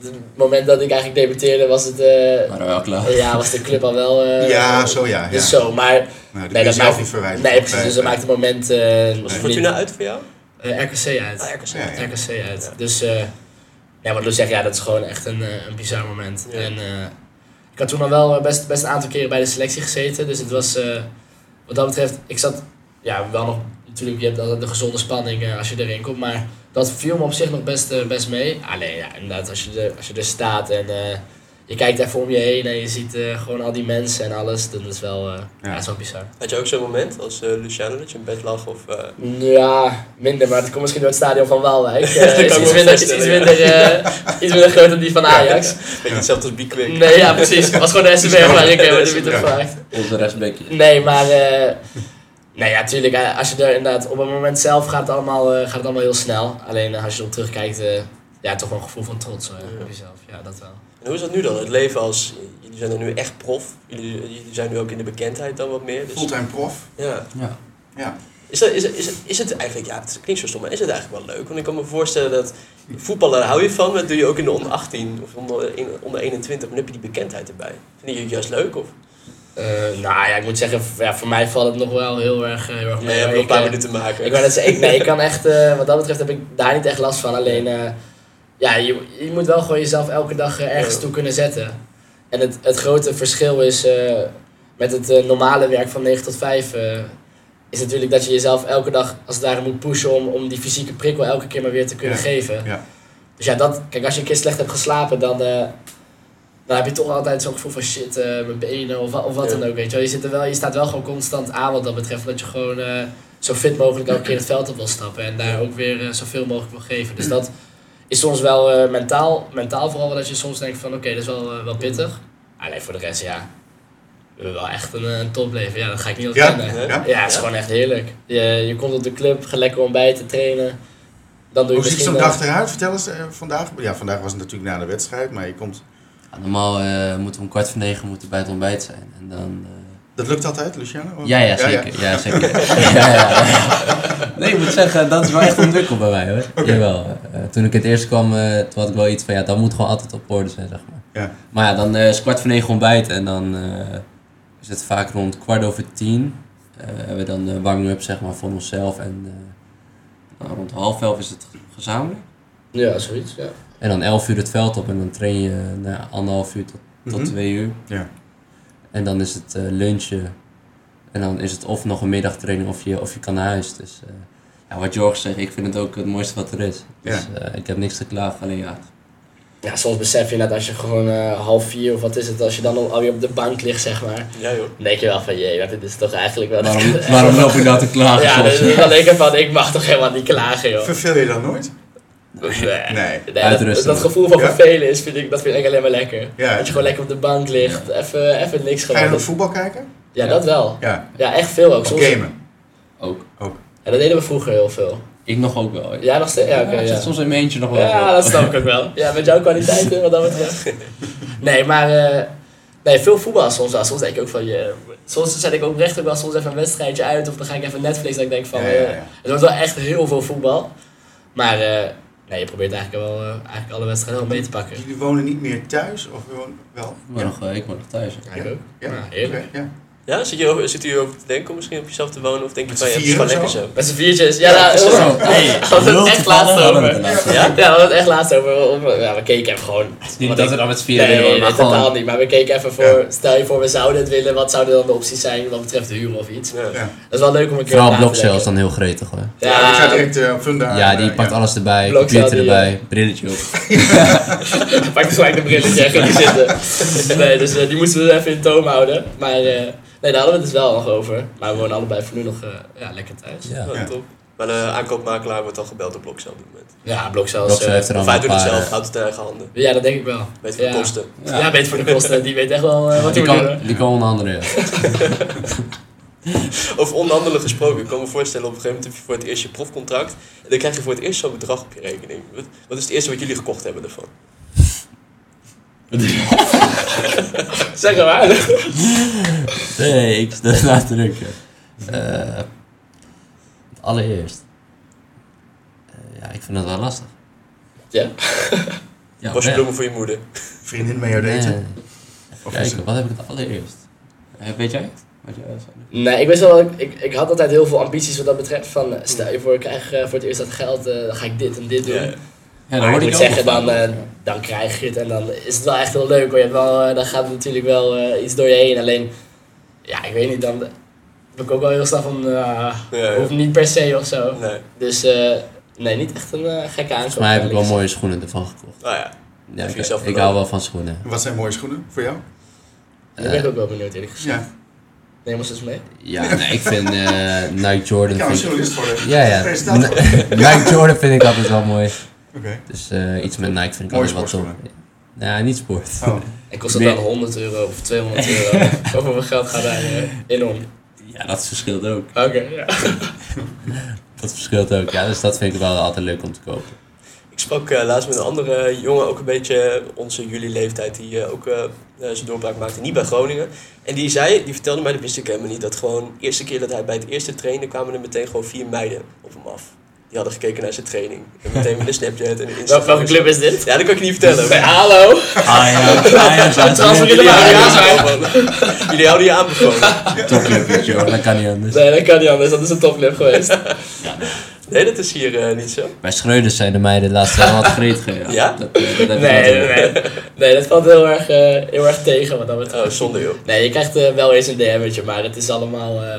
het moment dat ik eigenlijk debuteerde was het, eh, Maar wel klaar. ja, was de club al wel... eh, ja, zo ja. ja. Dus zo, maar... Nou, dat Nee, kun je dat zelf maakt, niet verwijzen. nee, precies, dus dat maakt het moment... eh Was niet- het Fortuna uit voor jou? eh, RKC uit. Ah, RKC. Ja, ja. RKC uit. Ja. Dus eh ja, wat ik wil zeggen, ja, dat is gewoon echt een, eh, een bizar moment. Ja. En eh, ik had toen al wel eh, best, best een aantal keren bij de selectie gezeten. Dus het was eh, wat dat betreft, ik zat ja, wel nog. Natuurlijk, je hebt altijd de gezonde spanning eh, als je erin komt. Maar dat viel me op zich nog best, eh, best mee. Alleen ja, inderdaad, als je, er, als je er staat en eh, je kijkt even om je heen en je ziet eh, gewoon al die mensen en alles. Dat is wel, eh, ja. Ja. dat is wel bizar. Had je ook zo'n moment als eh, Luciano, dat je in bed lag? Of, eh, Ja, minder, maar dat komt misschien door het stadion van Waalwijk. Eh, Dat kan is ik me iets minder, is iets voorstellen, minder, eh, iets minder groot dan die van Ajax. weet je hetzelfde als Bikwik? Nee, ja, precies. Het was gewoon de SCB waar ik eh, Ja, werd er weer ja. gevraagd. Onze restbekje. Nee, maar. eh nee, ja, tuurlijk. eh, Als je er inderdaad. Op het moment zelf gaat het allemaal, eh, gaat het allemaal heel snel. Alleen eh, als je erop terugkijkt. eh, ja, toch wel een gevoel van trots eh, Ja. op jezelf. Ja, dat wel. En hoe is dat nu dan? Het leven als, jullie zijn er nu echt prof. Jullie, jullie zijn nu ook in de bekendheid dan wat meer. Dus, Fulltime prof. ja. Ja. Ja. Is, dat, is, het- is, het- is het eigenlijk, ja, het klinkt zo stom, maar is het eigenlijk wel leuk? Want ik kan me voorstellen dat voetbal, daar hou je van, maar dat doe je ook in de onder 18 of onder, in, onder 21, maar dan heb je die bekendheid erbij. Vind je het juist leuk? Of? Eh, nou ja, ik moet zeggen. v- Ja, voor mij valt het nog wel heel erg, eh, heel erg Nee, mee. je hebt Maar nog een ik, paar eh, minuten te maken. Ik wou net zeggen, ik, nee, ik kan echt, eh, wat dat betreft heb ik daar niet echt last van. Alleen, eh, ja, je, je moet wel gewoon jezelf elke dag eh, ergens Ja. toe kunnen zetten. En het, het grote verschil is eh, met het eh, normale werk van 9 tot 5, eh, is natuurlijk dat je jezelf elke dag als het ware moet pushen om, om die fysieke prikkel elke keer maar weer te kunnen Ja, geven. ja. Dus ja, dat, kijk, als je een keer slecht hebt geslapen, dan, eh, dan heb je toch altijd zo'n gevoel van shit, eh, mijn benen of, wa- of wat Ja. dan ook. Weet je, wel. je, zit er wel, je staat wel gewoon constant aan wat dat betreft, dat je gewoon. eh, zo fit mogelijk elke keer het veld op wil stappen en daar ook weer eh, zoveel mogelijk wil geven. Dus dat is soms wel eh, mentaal, mentaal vooral dat je soms denkt van oké, dat is wel, eh, wel pittig. Alleen voor de rest, ja, we hebben wel echt een, eh, een topleven. Ja, dat ga ik niet Ja, ontkennen. Ja, hè? ja. het is gewoon echt heerlijk. Je, je komt op de club, ga lekker ontbijten, trainen. Dan doe je Hoe ziet misschien zo'n wel- dag eruit? Vertel eens eh, vandaag. Ja, vandaag was het natuurlijk na de wedstrijd, maar je komt... Ja, normaal eh, moeten we om kwart voor negen moeten bij het ontbijt zijn. En dan... eh, Dat lukt altijd, Luciano? Ja, ja, zeker. Ja, zeker. Ja, ja, ja. Nee, ik moet zeggen, dat is wel echt ontwikkeld bij mij hoor. Jawel. Eh, toen ik het eerst kwam, eh, toen had ik wel iets van ja, dat moet gewoon altijd op orde zijn, zeg maar. Ja. Maar ja, dan eh is kwart voor negen ontbijt en dan eh, is het vaak rond kwart over tien. eh, hebben we dan de warming-up zeg maar voor onszelf en eh, nou, rond half elf is het gezamenlijk. Ja, zoiets. Ja. En dan 11 uur het veld op en dan train je eh, nou, ja, anderhalf uur tot, tot Mhm. twee uur. Ja. En dan is het eh, lunchen. En dan is het of nog een middagtraining of je, of je kan naar huis. Dus eh, ja, wat Jorg zegt, ik vind het ook het mooiste wat er is. Dus eh, ik heb niks te klagen, alleen ja. ja, soms besef je net als je gewoon eh, half vier of wat is het, als je dan al- alweer op de bank ligt, zeg maar. Ja joh. Dan denk je wel van jee, maar dit is toch eigenlijk wel... Waarom, waarom loop ik nou te klagen Ja, soms? dus ik had ik van, ik mag toch helemaal niet klagen, joh. Verveel je dan nooit? Nee. Nee. Nee, dat, Uitrusten. dat gevoel van Ja? vervelen is, vind ik, dat vind ik alleen maar lekker. Ja. Dat je gewoon lekker op de bank ligt, even, even niks Ga je gewoon. nog voetbal kijken? Ja, dat wel. Ja. Ja, echt veel ook. Of Soms, gamen? Ook. ja, dat deden we vroeger heel veel. Ik nog ook wel. Ja, nog steeds. Ja, oké, ik zit ja. soms in mijn eentje nog wel. ja, dat snap ik ook wel. Ja, met jouw kwaliteiten, wat dat betreft. Nee, maar eh, nee, veel voetbal soms wel. Soms denk ik ook van, je soms zet ik ook recht ook wel soms even een wedstrijdje uit. Of dan ga ik even Netflix en ik denk van, Ja, ja, eh, ja. het wordt wel echt heel veel voetbal. Maar eh, Nee, je probeert eigenlijk wel eh, eigenlijk alle wedstrijden wel mee te pakken. Dus Jullie wonen niet meer thuis? Of we wonen wel? Ik woon nog, eh, ik woon nog thuis. hè. Eigenlijk ook. Ja, Nou, heerlijk. Oké, ja. Ja, zit je, over- zit u hierover te denken om misschien op jezelf te wonen? Of denk je Met van, ja, het is vier gewoon lekker of zo? Met z'n viertjes. Ja, Ja, nou, precies. we- Zo, hey, we hadden het nul echt toevallig laatst hadden we over. het laatst. Ja? Ja, we hadden het echt laatst over. we- we- Ja, we keken even gewoon. Niet want dat ik- we dan met z'n Nee, vieren willen, nee, maar totaal gewoon... niet. Maar we keken even voor, stel je voor we zouden het willen, wat zouden dan de opties zijn wat betreft de huur of iets. Ja. Ja. Dat is wel leuk om een keer Vooral over na te Blockcel is denken. dan heel gretig hoor. Ja, die gaat Ja, direct eh, op funda. Ja, aan, die eh, pakt alles erbij, Blokcel, computer die, erbij, brilletje op. hij pakt gelijk de brilletje en ging die zitten. Nee, dus eh, die moesten we dus even in toom houden. Maar eh, nee, daar hadden we het dus wel nog over. Maar we wonen allebei voor nu nog eh, ja, lekker thuis. Ja. Oh, Ja. top. Maar de aankoopmakelaar wordt al gebeld op Bloksel op dit moment. Ja, Blockcel is... Blockcel eh, heeft er Of allemaal hij een doet het paar... zelf, eh, houdt het in eigen handen. ja, dat denk ik wel. Weet je, Ja. van kosten. Ja, weet voor de kosten. Die weet echt wel eh, wat hij Die moet doen. kan, die kan onder andere, ja. Over onderhandelen gesproken, ik kan me voorstellen op een gegeven moment heb je voor het eerst je profcontract. En dan krijg je voor het eerst zo'n bedrag op je rekening. Wat, wat is het eerste wat jullie gekocht hebben ervan? Zeg maar waar. Nee, ik sta na te drukken. Eh, allereerst. Eh, ja, ik vind dat wel lastig. Ja. Ja, nou Was je ja. bloemen voor je moeder? Vriendin mee jou daten? Nee. Of is Kijken, het- wat heb ik het allereerst? Eh, weet jij het? Wat jij eh, zei? Nee, ik wist wel, ik, ik, ik had altijd heel veel ambities wat dat betreft. Van, eh, stel je voor, ik krijg eh, voor het eerst dat geld, eh, dan ga ik dit en dit doen. Ja, ja. Ja, maar Ah, ik hoorde moet ook zeggen, nog van. dan, eh, dan krijg je het en dan is het wel echt heel leuk. hoor. Je hebt wel, eh, dan gaat het natuurlijk wel eh, iets door je heen. Alleen, ja, ik weet niet, dan ben ik ook wel heel snel van, eh Ja, ja. hoeft niet per se of zo. Nee. Dus, eh, nee, niet echt een eh, gekke aankoop. Volgens mij heb ik wel mooie schoenen ervan gekocht. Nou ja, Ja, je ik, zelf ik beloond. hou wel van schoenen. Wat zijn mooie schoenen voor jou? Daar ben ik ook wel benieuwd eerlijk gezegd. Ja, Neem ons eens mee. Ja, nee, ik vind eh, Nike Jordan... ik kan een vind ik- journalist worden. ja, ja. Presentator. Nike Jordan vind ik altijd wel mooi. Oké. Dus eh, iets met Nike vind ik Mooie altijd wel top. sportschoenen. Ja, niet sport. Oh. En kost dat Nee. dan 100 euro of 200 euro? Hoeveel geld gaat daar eh, in om? Ja, dat verschilt ook. Oké, ja. Dat verschilt ook, ja. Dus dat vind ik wel altijd leuk om te kopen. Ik sprak eh, laatst met een andere jongen, ook een beetje onze jullie leeftijd, die eh, ook eh, eh, zijn doorbraak maakte, niet bij Groningen. En die zei, die vertelde mij, dat wist ik helemaal niet, dat gewoon de eerste keer dat hij bij het eerste trainen kwamen er meteen gewoon vier meiden op hem af. Die hadden gekeken naar zijn training. En meteen met een Snapchat en een Instagram. Wel, welke club is dit? Ja, dat kan ik je niet vertellen. Bij Hallo? Ajax, Ah, Ajax, Transfer in de Jullie houden je Ja, zijn. aanbevolen. Jullie houden je aanbevolen. Topclubje, joh. Dat kan niet anders. Nee, dat kan niet anders. Dat is een topclub geweest. Nee, dat is hier eh, niet zo. Bij Schreuders zijn de meiden laatst wel wat gretig. Ja? Dat, eh, dat heb ik Nee, altijd. nee, nee. Nee, dat valt heel erg, eh, heel erg tegen wat dat betreft. Oh, zonde joh. Nee, je krijgt eh, wel eens een DM'tje, maar het is allemaal eh,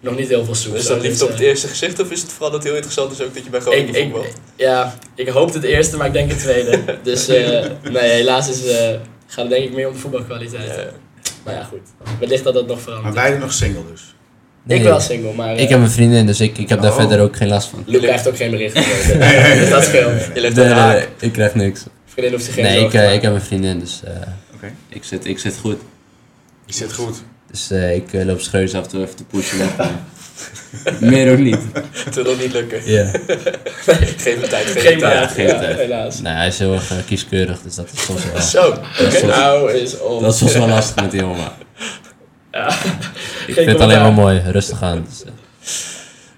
nog niet heel veel soep. Is dat liefde Dus, op het eh, eerste gezicht of is het vooral dat heel interessant is ook dat je bij Groningen ik, ik, voetbalt? ja, ik hoopte het eerste, maar ik denk het tweede. dus eh, nee, helaas is, eh, gaat het denk ik meer om de voetbalkwaliteit. Ja. Maar ja, goed. Wellicht dat dat nog Maar verandert. beide nog single dus. Nee. Ik wel single, maar eh, Ik heb een vriendin, dus ik, ik heb daar Oh. verder ook geen last van. Luc krijgt ook geen bericht. dus dat scheelt. Je legt Nee, een nee, haak. nee, ik krijg niks. Vriendin hoeft zich geen Nee, ik, zorgen eh, te ik maken. heb een vriendin, dus eh, Oké. ik, zit, ik zit goed. Je zit goed. Dus eh, ik eh, loop Schreuders af en toe even te pushen. maar, eh, Meer ook niet. Het wil nog niet lukken. Ja. Geef hem tijd, geef Geen hem tijd. maat, geen ja, tijd. helaas. Nee, hij is heel erg eh, kieskeurig, dus dat is soms wel, dat Zo, is soms, Nou is op. dat is soms wel lastig met die jongen. maar Ja. Ik vind het alleen maar mooi, rustig aan. Dus, eh,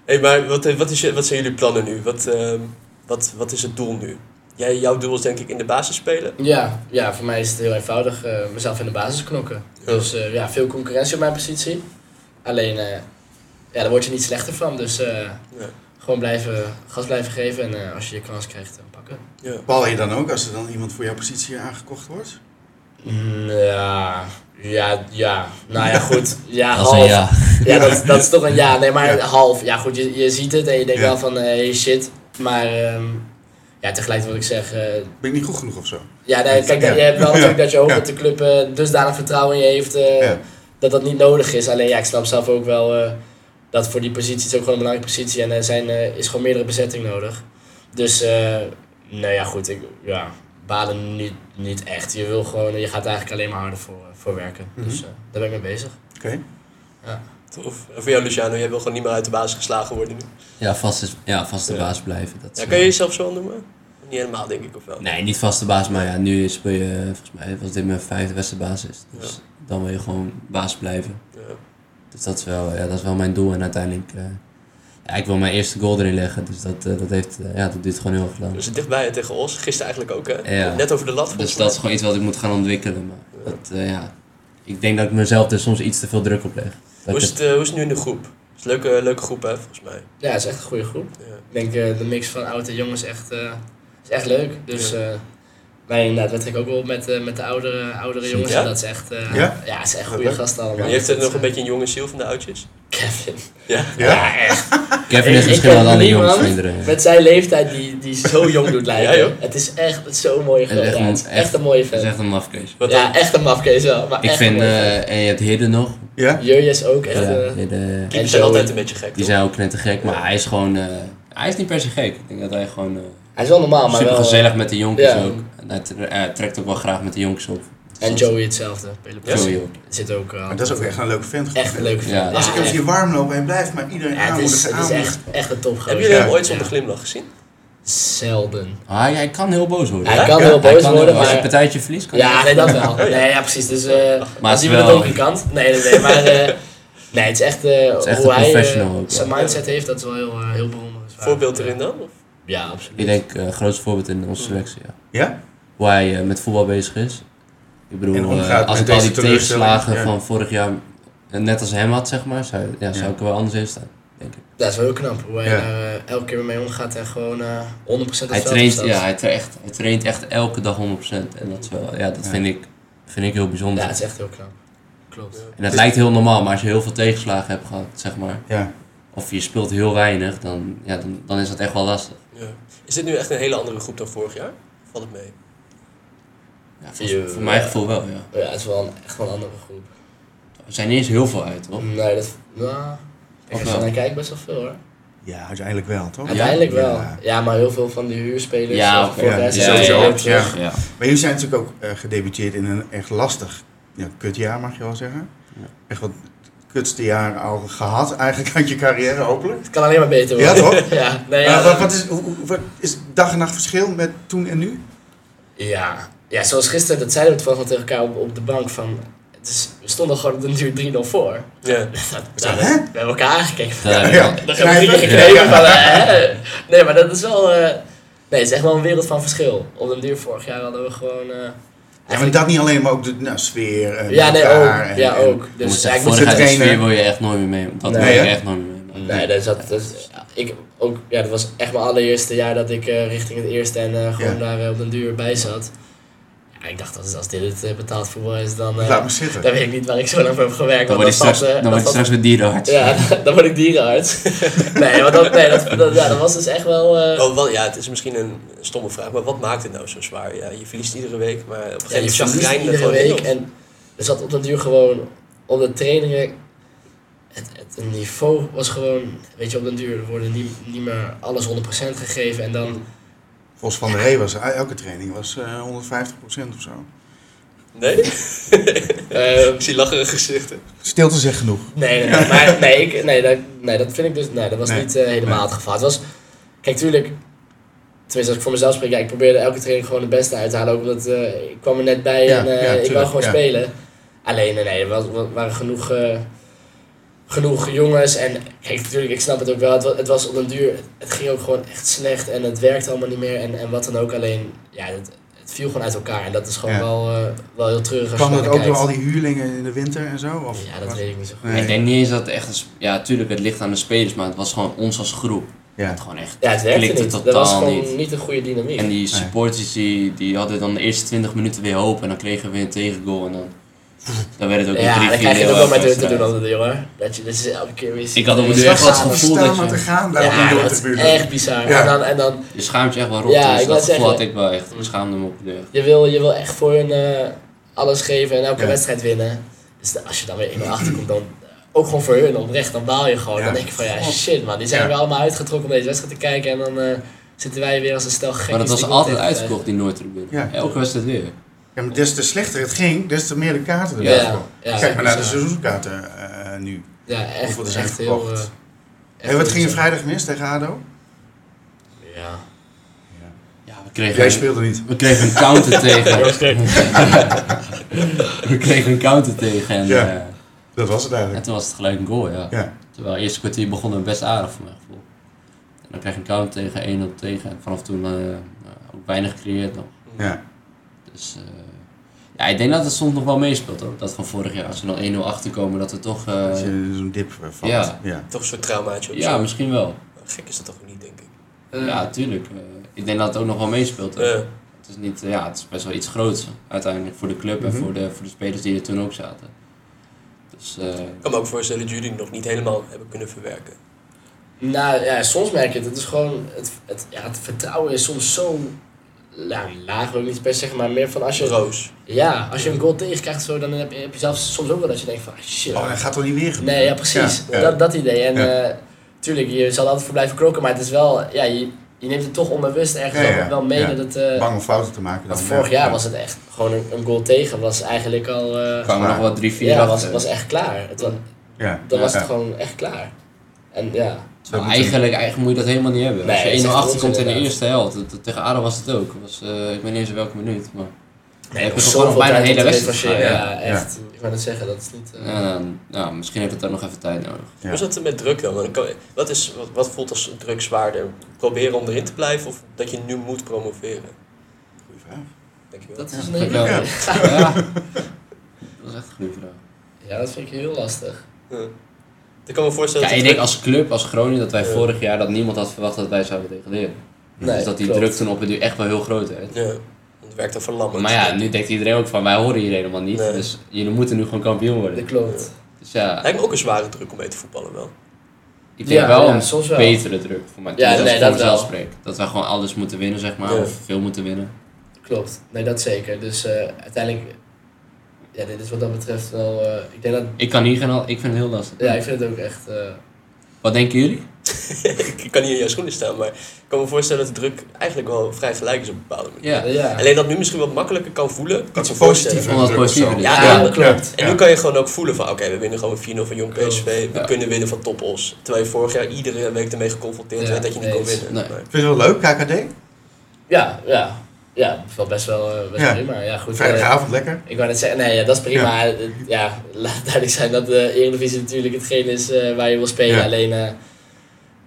hey, maar wat, eh, wat, is, je- wat zijn jullie plannen nu? Wat, ehm, wat, wat is het doel nu? Jij, jouw doel is denk ik in de basis spelen. Ja, ja, voor mij is het heel eenvoudig. eh, mezelf in de basis knokken. Dus eh, ja, veel concurrentie op mijn positie. Alleen, eh, ja, daar word je niet slechter van. Dus eh, Ja. gewoon blijven, gas blijven geven. En eh, als je je kans krijgt, dan pakken. Ja. Bal je dan ook als er dan iemand voor jouw positie aangekocht wordt? Mm, Ja, ja, ja. Nou ja, goed. Ja, als een half. ja. Ja, dat, dat is toch een ja. Nee, maar Ja. half. Ja, goed, je, je ziet het en je denkt Ja. wel van, eh, hey, shit. Maar ehm, ja, tegelijk wil ik zeggen... eh, Ben ik niet goed genoeg of zo? ja, nee, kijk, Ja. je hebt wel Ja. natuurlijk dat je hoopt Ja. dat de club eh, dusdanig vertrouwen in je heeft... eh, Ja. dat dat niet nodig is. Alleen ja, ik snap zelf ook wel eh, dat voor die positie het is ook gewoon een belangrijke positie en er zijn, eh, is gewoon meerdere bezetting nodig. Dus eh nou ja, goed, ik ja, balen niet, niet echt. Je wil gewoon, je gaat er eigenlijk alleen maar harder voor, eh, voor werken. Mhm. Dus eh, daar ben ik mee bezig. Oké. Of en voor jou, Luciano, jij wil gewoon niet meer uit de basis geslagen worden nu. Ja, vast, is, ja, vast de Ja. baas blijven. Dat is, Ja, kan je eh, jezelf zo noemen? Niet helemaal, denk ik, of wel? Nee, niet vaste baas, maar ja, nu speel je, eh, volgens mij was dit mijn vijfde wedstrijd basis. Dus dan wil je gewoon baas blijven. Ja. Dus dat is wel, ja, dat is wel mijn doel en uiteindelijk eh, Ja, ik wil mijn eerste goal erin leggen, dus dat, eh, dat, heeft, eh, ja, dat duurt gewoon heel erg lang. We zitten dichtbij hè, tegen Os. Gisteren eigenlijk ook, hè? Ja. Net over de lat. volgens Dus dat is mij. gewoon iets wat ik moet gaan ontwikkelen. Maar dat, eh, ja. Ik denk dat ik mezelf er soms iets te veel druk op leg. Dat Hoe ik is, het, eh, hoe is het nu in de groep? Het is een leuke, eh, leuke groep, hè, volgens mij. Ja, het is echt een goede groep. Ja. Ik denk eh, de mix van oud en jong is echt, eh, is echt leuk. Dus eh wij inderdaad, we trekken ook wel op met, eh, met de oudere, oudere Ja? jongens. En dat is echt, eh, Ja? ja? het is echt Wat goede leuk. gasten allemaal. Je heeft er Dat nog is, een beetje een jonge ziel van de oudjes. eh, Kevin. Ja. Ja? echt. Kevin Ik- is ik misschien ken wel een andere niemand jongens eh. van iedereen. ja. Met zijn leeftijd die, die zo jong doet lijken. Ja, joh. Het is echt zo'n mooie Het is vent. echt Ja, het is een- echt een mooie Dat is vent. echt een mafkees. Wat Ja, dan? echt een mafkees wel. Maar Ik echt vind, een mooie eh, vent. en je hebt Hidden nog. Ja? Jurje is ook echt... Ja, eh, Hidden, Keepers en zijn Joey. altijd een beetje gek, die toch? zijn ook net te gek, maar hij is gewoon... eh, hij is niet per se gek. Ik denk dat hij gewoon eh, hij is wel normaal, maar super wel... gezellig met de jonkies ja. ook. En hij tre- hij trekt ook wel graag met de jonkies op. Dus eh, En dat- Joey hetzelfde. Pelle Ja? Pelle Joey ook. Zit ook... eh, Maar dat is ook echt een leuke vent. gewoon. Echt een leuke Ja, vent. Ja, dat Als ik hem echt. zie warm lopen en blijft maar iedereen Ja, het is, aanmoedigen. het is aanmoedigen. echt, echt een topgozer. Hebben jullie Ja. hem ooit zonder Ja. glimlach gezien? Zelden. Ah, ja, hij kan heel boos worden. Hij Ja, kan ja, heel hij boos kan worden, Als je een maar... partijtje verliest, kan hij Ja, heel nee, boos dat wel. Nee, ja, precies. Dus eh Maar als het is iemand het wel- ook een kant. Nee, nee, nee, maar... eh, nee, het is echt... eh, is echt hoe een hij eh, professional ook, ja. zijn mindset heeft, dat is wel heel, eh, heel bewonderend. Voorbeeld erin dan? Of? Ja, absoluut. Ik denk eh grootste voorbeeld in onze selectie, ja. Ja? Hoe hij eh, met voetbal bezig is. Ik bedoel, En omgaat eh, als met ik al die deze teleurstelling, tegenslagen ja. van vorig jaar eh, net als hem had, zeg maar, zou, ja, zou Ja. ik er wel anders in staan, denk ik. Dat is wel heel knap, hoe hij Ja. daar eh, elke keer mee omgaat en gewoon eh 100% het Hij veld traint, opstaat. ja, hij, tra- echt, hij traint echt elke dag 100%. En dat, is wel, ja, dat Ja. Vind, ik, vind ik heel bijzonder. Ja, het is echt heel knap. Klopt. en dat lijkt heel normaal, maar als je heel veel tegenslagen hebt gehad, zeg maar, Ja. of je speelt heel weinig, dan, ja, dan, dan is dat echt wel lastig. Ja. Is dit nu echt een hele andere groep dan vorig jaar? Valt het mee? Ja, Je- voor, voor mijn ja. gevoel wel, ja. Ja, het is wel een, echt wel een andere groep. Er zijn niet eens heel veel uit, hoor. Nee, dat... Nou, Oh. Of ik als je wel? naar kijkt best wel veel hoor. Ja, uiteindelijk wel, toch? Uiteindelijk wel. Ja. Ja, maar heel veel van die huurspelers. Ja, of oké. voor de eh, Ja, rest die is zijn het sowieso heel op, terug. ja. Ja. Maar jullie zijn natuurlijk ook eh, gedebuteerd in een echt lastig ja, kutjaar, mag je wel zeggen. Ja. Echt wat kutste jaar al gehad, eigenlijk uit je carrière, hopelijk. Het kan alleen maar beter Ja, worden. toch? Ja, nee, Maar ja, wat, wat is, hoe- hoe- wat is dag en nacht verschil met toen en nu? ja. ja, zoals gisteren, dat zeiden we het volgens tegen elkaar op, op de bank. Van, het is, we stonden gewoon op de duur 3-0 voor. Ja. Dat, dat- we hebben elkaar aangekeken. van, Ja, Ja. Dan gaan we drie keer Ja. geknepen van, eh, hè? Nee, maar dat is wel... eh, nee, het is echt wel een wereld van verschil. Op den duur vorig jaar hadden we gewoon... eh, Ja, maar dat niet alleen, maar ook de nou, sfeer. eh, ja, met nee, elkaar ook. en- ja, en- ook. Dus Dus moet ja, ik zeggen, moet vorig vorige tijd zeggen, trainen- wil je echt nooit meer mee. Dat Nee, wil je hè? echt nooit meer mee. maken. Nee, dat, zat, dat, ik, ook, ja, dat was echt mijn allereerste jaar dat ik eh, richting het eerste en eh, gewoon Ja. daar eh, op den duur bij zat. Ja, ik dacht, als, als dit het eh, betaald voetbal is, dan, eh, Laat me zitten. dan weet ik niet waar ik zo lang voor heb gewerkt. Dan want word je dat straks, valt, eh, dan word dat je valt- straks weer dierenarts. Ja, dan word ik dierenarts. nee, want dat, nee dat, dat- ja, dat was dus echt wel... eh, Oh, wel, ja, het is misschien een stomme vraag, maar wat maakt het nou zo zwaar? Ja, je verliest iedere week, maar op een ja, gegeven je moment verliest chagrijn er iedere gewoon in. week. of- En er zat op den duur gewoon op de trainingen... Het, het niveau was gewoon... Weet je, op den duur er worden niet, niet meer alles 100% gegeven en dan... Vos van der Ree was, elke training was eh 150% of zo. Nee? eh, Ik zie lacherige gezichten. Stilte zegt genoeg. Nee, nee, nee, maar, nee, ik, nee, dat, nee, dat vind ik dus. Nee, dat was Nee, niet eh, helemaal nee. het geval. Het was. Kijk, tuurlijk. Tenminste, als ik voor mezelf spreek, ja, ik probeerde elke training gewoon het beste uit te halen. Ook omdat eh, ik kwam er net bij Ja, en eh, ja, ik wil tuurlijk, gewoon ja. spelen. Alleen, nee, nee, er was, wa- waren genoeg, eh, genoeg jongens. En kijk, natuurlijk, ik snap het ook wel. Het, wa- het was op een duur, het ging ook gewoon echt slecht en het werkte allemaal niet meer. En, en wat dan ook, alleen, ja, het, het viel gewoon uit elkaar. En dat is gewoon Ja. wel, eh, wel heel treurig. als je Kwam dat naar ook kijkt. door al die huurlingen in de winter en zo? Of Ja, dat was- weet ik niet zo goed. Nee. Ik denk niet eens dat het echt... een sp- Ja, tuurlijk, het ligt aan de spelers, maar het was gewoon ons als groep. Ja. Het gewoon echt... Ja, het werkte klikte niet. Dat totaal was gewoon niet. niet. een goede dynamiek. En die supporters die, die hadden dan de eerste 20 minuten weer hoop en dan kregen we weer een tegengoal en dan... Dan werd het ook ja, een 3 dan krijg je het ook wel met hun te doen altijd, jongen. Dat je dus elke keer weer... Ik had op een Je duur zag echt wel ze het gevoel eh, staan dat maar te je... gaan daar Ja, om door dat te is buren. echt bizar. Ja. En, dan, en dan, Je schaamt je echt wel rot. Ja, dus ik dat wou gevoel zeggen. had ik wel echt. Ik schaamde me op de deur. je wil, je wil echt voor hun eh, alles geven en elke Ja. wedstrijd winnen. Dus da- als je dan weer in de achterkomt, dan... eh, Ook gewoon voor hun, oprecht, dan baal je gewoon. Ja. Dan denk je van, ja, God. shit man, die zijn Ja. weer allemaal uitgetrokken om deze wedstrijd te kijken. En dan eh, zitten wij weer als een stel gekken. Maar dat was altijd eh, uitverkocht, die Noordtribune. Ja. Elke wedstrijd weer. Ja, maar des te slechter het ging, des te meer de kaarten Ja, erbij ja, kwamen. ja, Kijk maar naar de bizar. seizoenskaarten eh, nu. Ja, echt, Hoeveel er zijn echt heel... verkocht. eh, En wat echt ging je bizar. vrijdag mis tegen ADO? Ja. Ja, we Jij kregen, speelde niet. we kregen een counter tegen. We kregen een counter tegen en, Ja. eh, Dat was het en eigenlijk. toen was het gelijk een goal, ja. Ja. Terwijl het eerste kwartier begon het best aardig voor mijn gevoel. Dan krijg je een counter tegen 1 op tegen. En vanaf toen eh, nou, ook weinig gecreëerd nog. Ja. Dus eh, ja, ik denk dat het soms nog wel meespeelt hoor. Dat van vorig jaar, als we dan 1-0 achterkomen, dat we toch... eh, Als je in zo'n dip eh, valt. ja. ja. Toch een soort traumaatje of ja, zo. misschien wel. Gek is dat toch niet, denk ik. Ja, tuurlijk. Eh, ik denk dat het ook nog wel meespeelt. hoor. Eh, Het, is niet, eh, ja, het is best wel iets groots uiteindelijk voor de club Mhm. en voor de, voor de spelers die er toen ook zaten. Dus eh, ik kan me ook voorstellen dat jullie het nog niet helemaal hebben kunnen verwerken. Nou ja, soms merk je het. Het is gewoon, het, het, ja, het vertrouwen is soms zo ja, laag, wil ik niet per se zeggen, maar meer van als je, Roos. ja, als je een goal tegenkrijgt, zo, dan heb je, heb je zelfs soms ook wel dat je denkt van, ah, shit. Oh, dat gaat toch niet weer gebeuren? Nee, ja, precies. Ja, ja. Dat, dat idee. En Ja. eh, tuurlijk, je zal er altijd voor blijven kroken, maar het is wel, ja, je, je neemt het toch onbewust ergens Ja, wel- ja, wel mee ja. dat het... eh, Bang om fouten te maken. want dan, vorig ja. jaar was het echt gewoon een, een goal tegen, was eigenlijk al, eh, kwamen maar- nog wel 3-4 ja, was, achter. was echt klaar. Het, was- Ja. dan was Ja. het gewoon echt klaar. En ja, Terwijl moeten- eigenlijk, eigenlijk moet je dat helemaal niet hebben. Nee, als dat is je 1-0 echt achter komt in de inderdaad. eerste helft. dat- dat- tegen Aden was het ook. Het Was, eh, ik weet niet eens in welke minuut. Maar Nee, heb er je was gewoon zoveel bijna tijd een om hele te wedstrijd. revancheren. Ja, Ja, echt. Ik wou net zeggen, dat is niet... eh, ja, dan- ja, misschien heeft het daar nog even tijd nodig. Ja. Hoe is dat met druk dan? Want dan kan- Wat, is, wat, wat voelt als druk zwaarder? Proberen om erin te blijven of dat je nu moet promoveren? Goeie vraag. Denk je wel? Dat Ja, is een dat hele... wel. Ja. Ja. Dat is echt een goede vraag. dat vind ik heel lastig. Ja. Ik kan me voorstellen Ja, dat ik de denk druk- als club, als Groningen, dat wij Ja. vorig jaar dat niemand had verwacht dat wij zouden degraderen. Nee, dus dat die klopt. druk toen op het duur echt wel heel groot werd. Ja, het werkt dan verlammend. Maar ja, nu denkt iedereen ook van wij horen hier helemaal niet. Nee. Dus jullie moeten nu gewoon kampioen Dat worden. klopt. Dus ja, Lijkt me ook een zware druk om mee te voetballen wel. ik denk Ja, wel ja, een soms wel. betere druk voor mij. Ja, Ja, nee, nee, dat dat wel. spreek. Dat wij gewoon alles moeten winnen, zeg maar. Ja. Of veel moeten winnen. Klopt. Nee, dat zeker. Dus eh, uiteindelijk... Ja, dit is wat dat betreft wel... eh, ik denk dat... Ik kan hier geen al, ik vind het heel lastig. Ja, ik vind het ook echt... eh, Wat denken jullie? ik kan niet in jouw schoenen staan, maar ik kan me voorstellen dat de druk eigenlijk wel vrij gelijk is op een bepaalde manier. Ja. ja. Alleen dat nu misschien wat makkelijker kan voelen. kan Dat ik is me voorstellen. positief. Omdat het positiever is. Ja, Ja, ja, dat klopt. En nu kan je gewoon ook voelen van, oké, we winnen gewoon 4-0 van Jong PSV. We Ja. kunnen winnen van Topos. Terwijl je vorig jaar iedere week ermee geconfronteerd Ja, werd dat je niet kon eens. winnen. Nee. Maar- Vind je het wel leuk, KKD? Ja, ja. Ja, wel best wel eh, best Ja. wel prima. Ja, goed. eh, Vrijdagavond, lekker. Ik wou net zeggen, nee, ja, dat is prima. Eh, Ja, laat duidelijk zijn dat de Eredivisie natuurlijk hetgeen is eh, waar je wil spelen. Ja. Alleen, eh,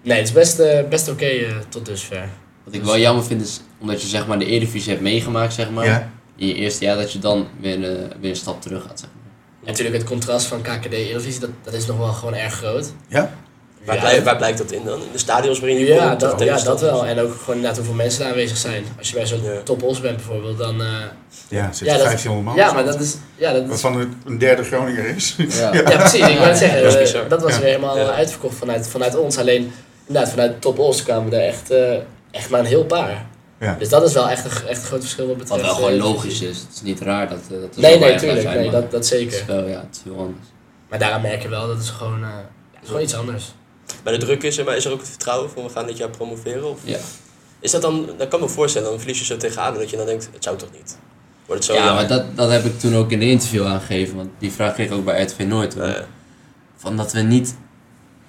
nee, het is best, eh, best oké eh, tot dusver. Wat ik wel jammer vind is, omdat je zeg maar de Eredivisie hebt meegemaakt, zeg maar. Ja. In je eerste jaar dat je dan weer, eh, weer een stap terug gaat, zeg maar. En natuurlijk het contrast van KKD Eredivisie, dat, dat is nog wel gewoon erg groot. Ja? Waar, Ja, blij- waar blijkt dat in dan? In de stadions waarin je ja, komt of dat, ja, dat tegenstanders? wel. En ook gewoon inderdaad hoeveel mensen daar aanwezig zijn. Als je bij zo'n Ja. top os bent bijvoorbeeld, dan... eh, Ja, zit Ja, dat- 1500 man. ja, maar dat is... Ja, dat is Waarvan er een derde Groninger is. Ja. Ja, precies. Ik wou het zeggen, Dat dat is was, bizar. dat was Ja. weer helemaal Ja. uitverkocht vanuit, vanuit ons. Alleen inderdaad, vanuit Top Os kwamen er echt, eh, echt maar een heel paar. Ja. Dus dat is wel echt een, echt een groot verschil wat Wat betreft... wel gewoon eh, logisch is. Het is niet raar dat... eh, dat er Nee, zoveel nee, uitlaat tuurlijk. zijn, Nee, maar dat, dat Het is zeker. wel, ja, het is heel anders. Maar daaraan merk je wel dat het gewoon, eh, het is gewoon iets anders. Maar de druk is er, maar is er ook het vertrouwen van we gaan dit jaar promoveren? Of Ja, is dat dan, dat kan ik me voorstellen, dan verlies je zo tegenaan dat je dan denkt, het zou toch niet? Wordt het zo? ja maar dat, dat heb ik toen ook in de interview aangegeven. Want die vraag kreeg ik ook bij RTV Nooit. hoor. Eh, van dat we niet.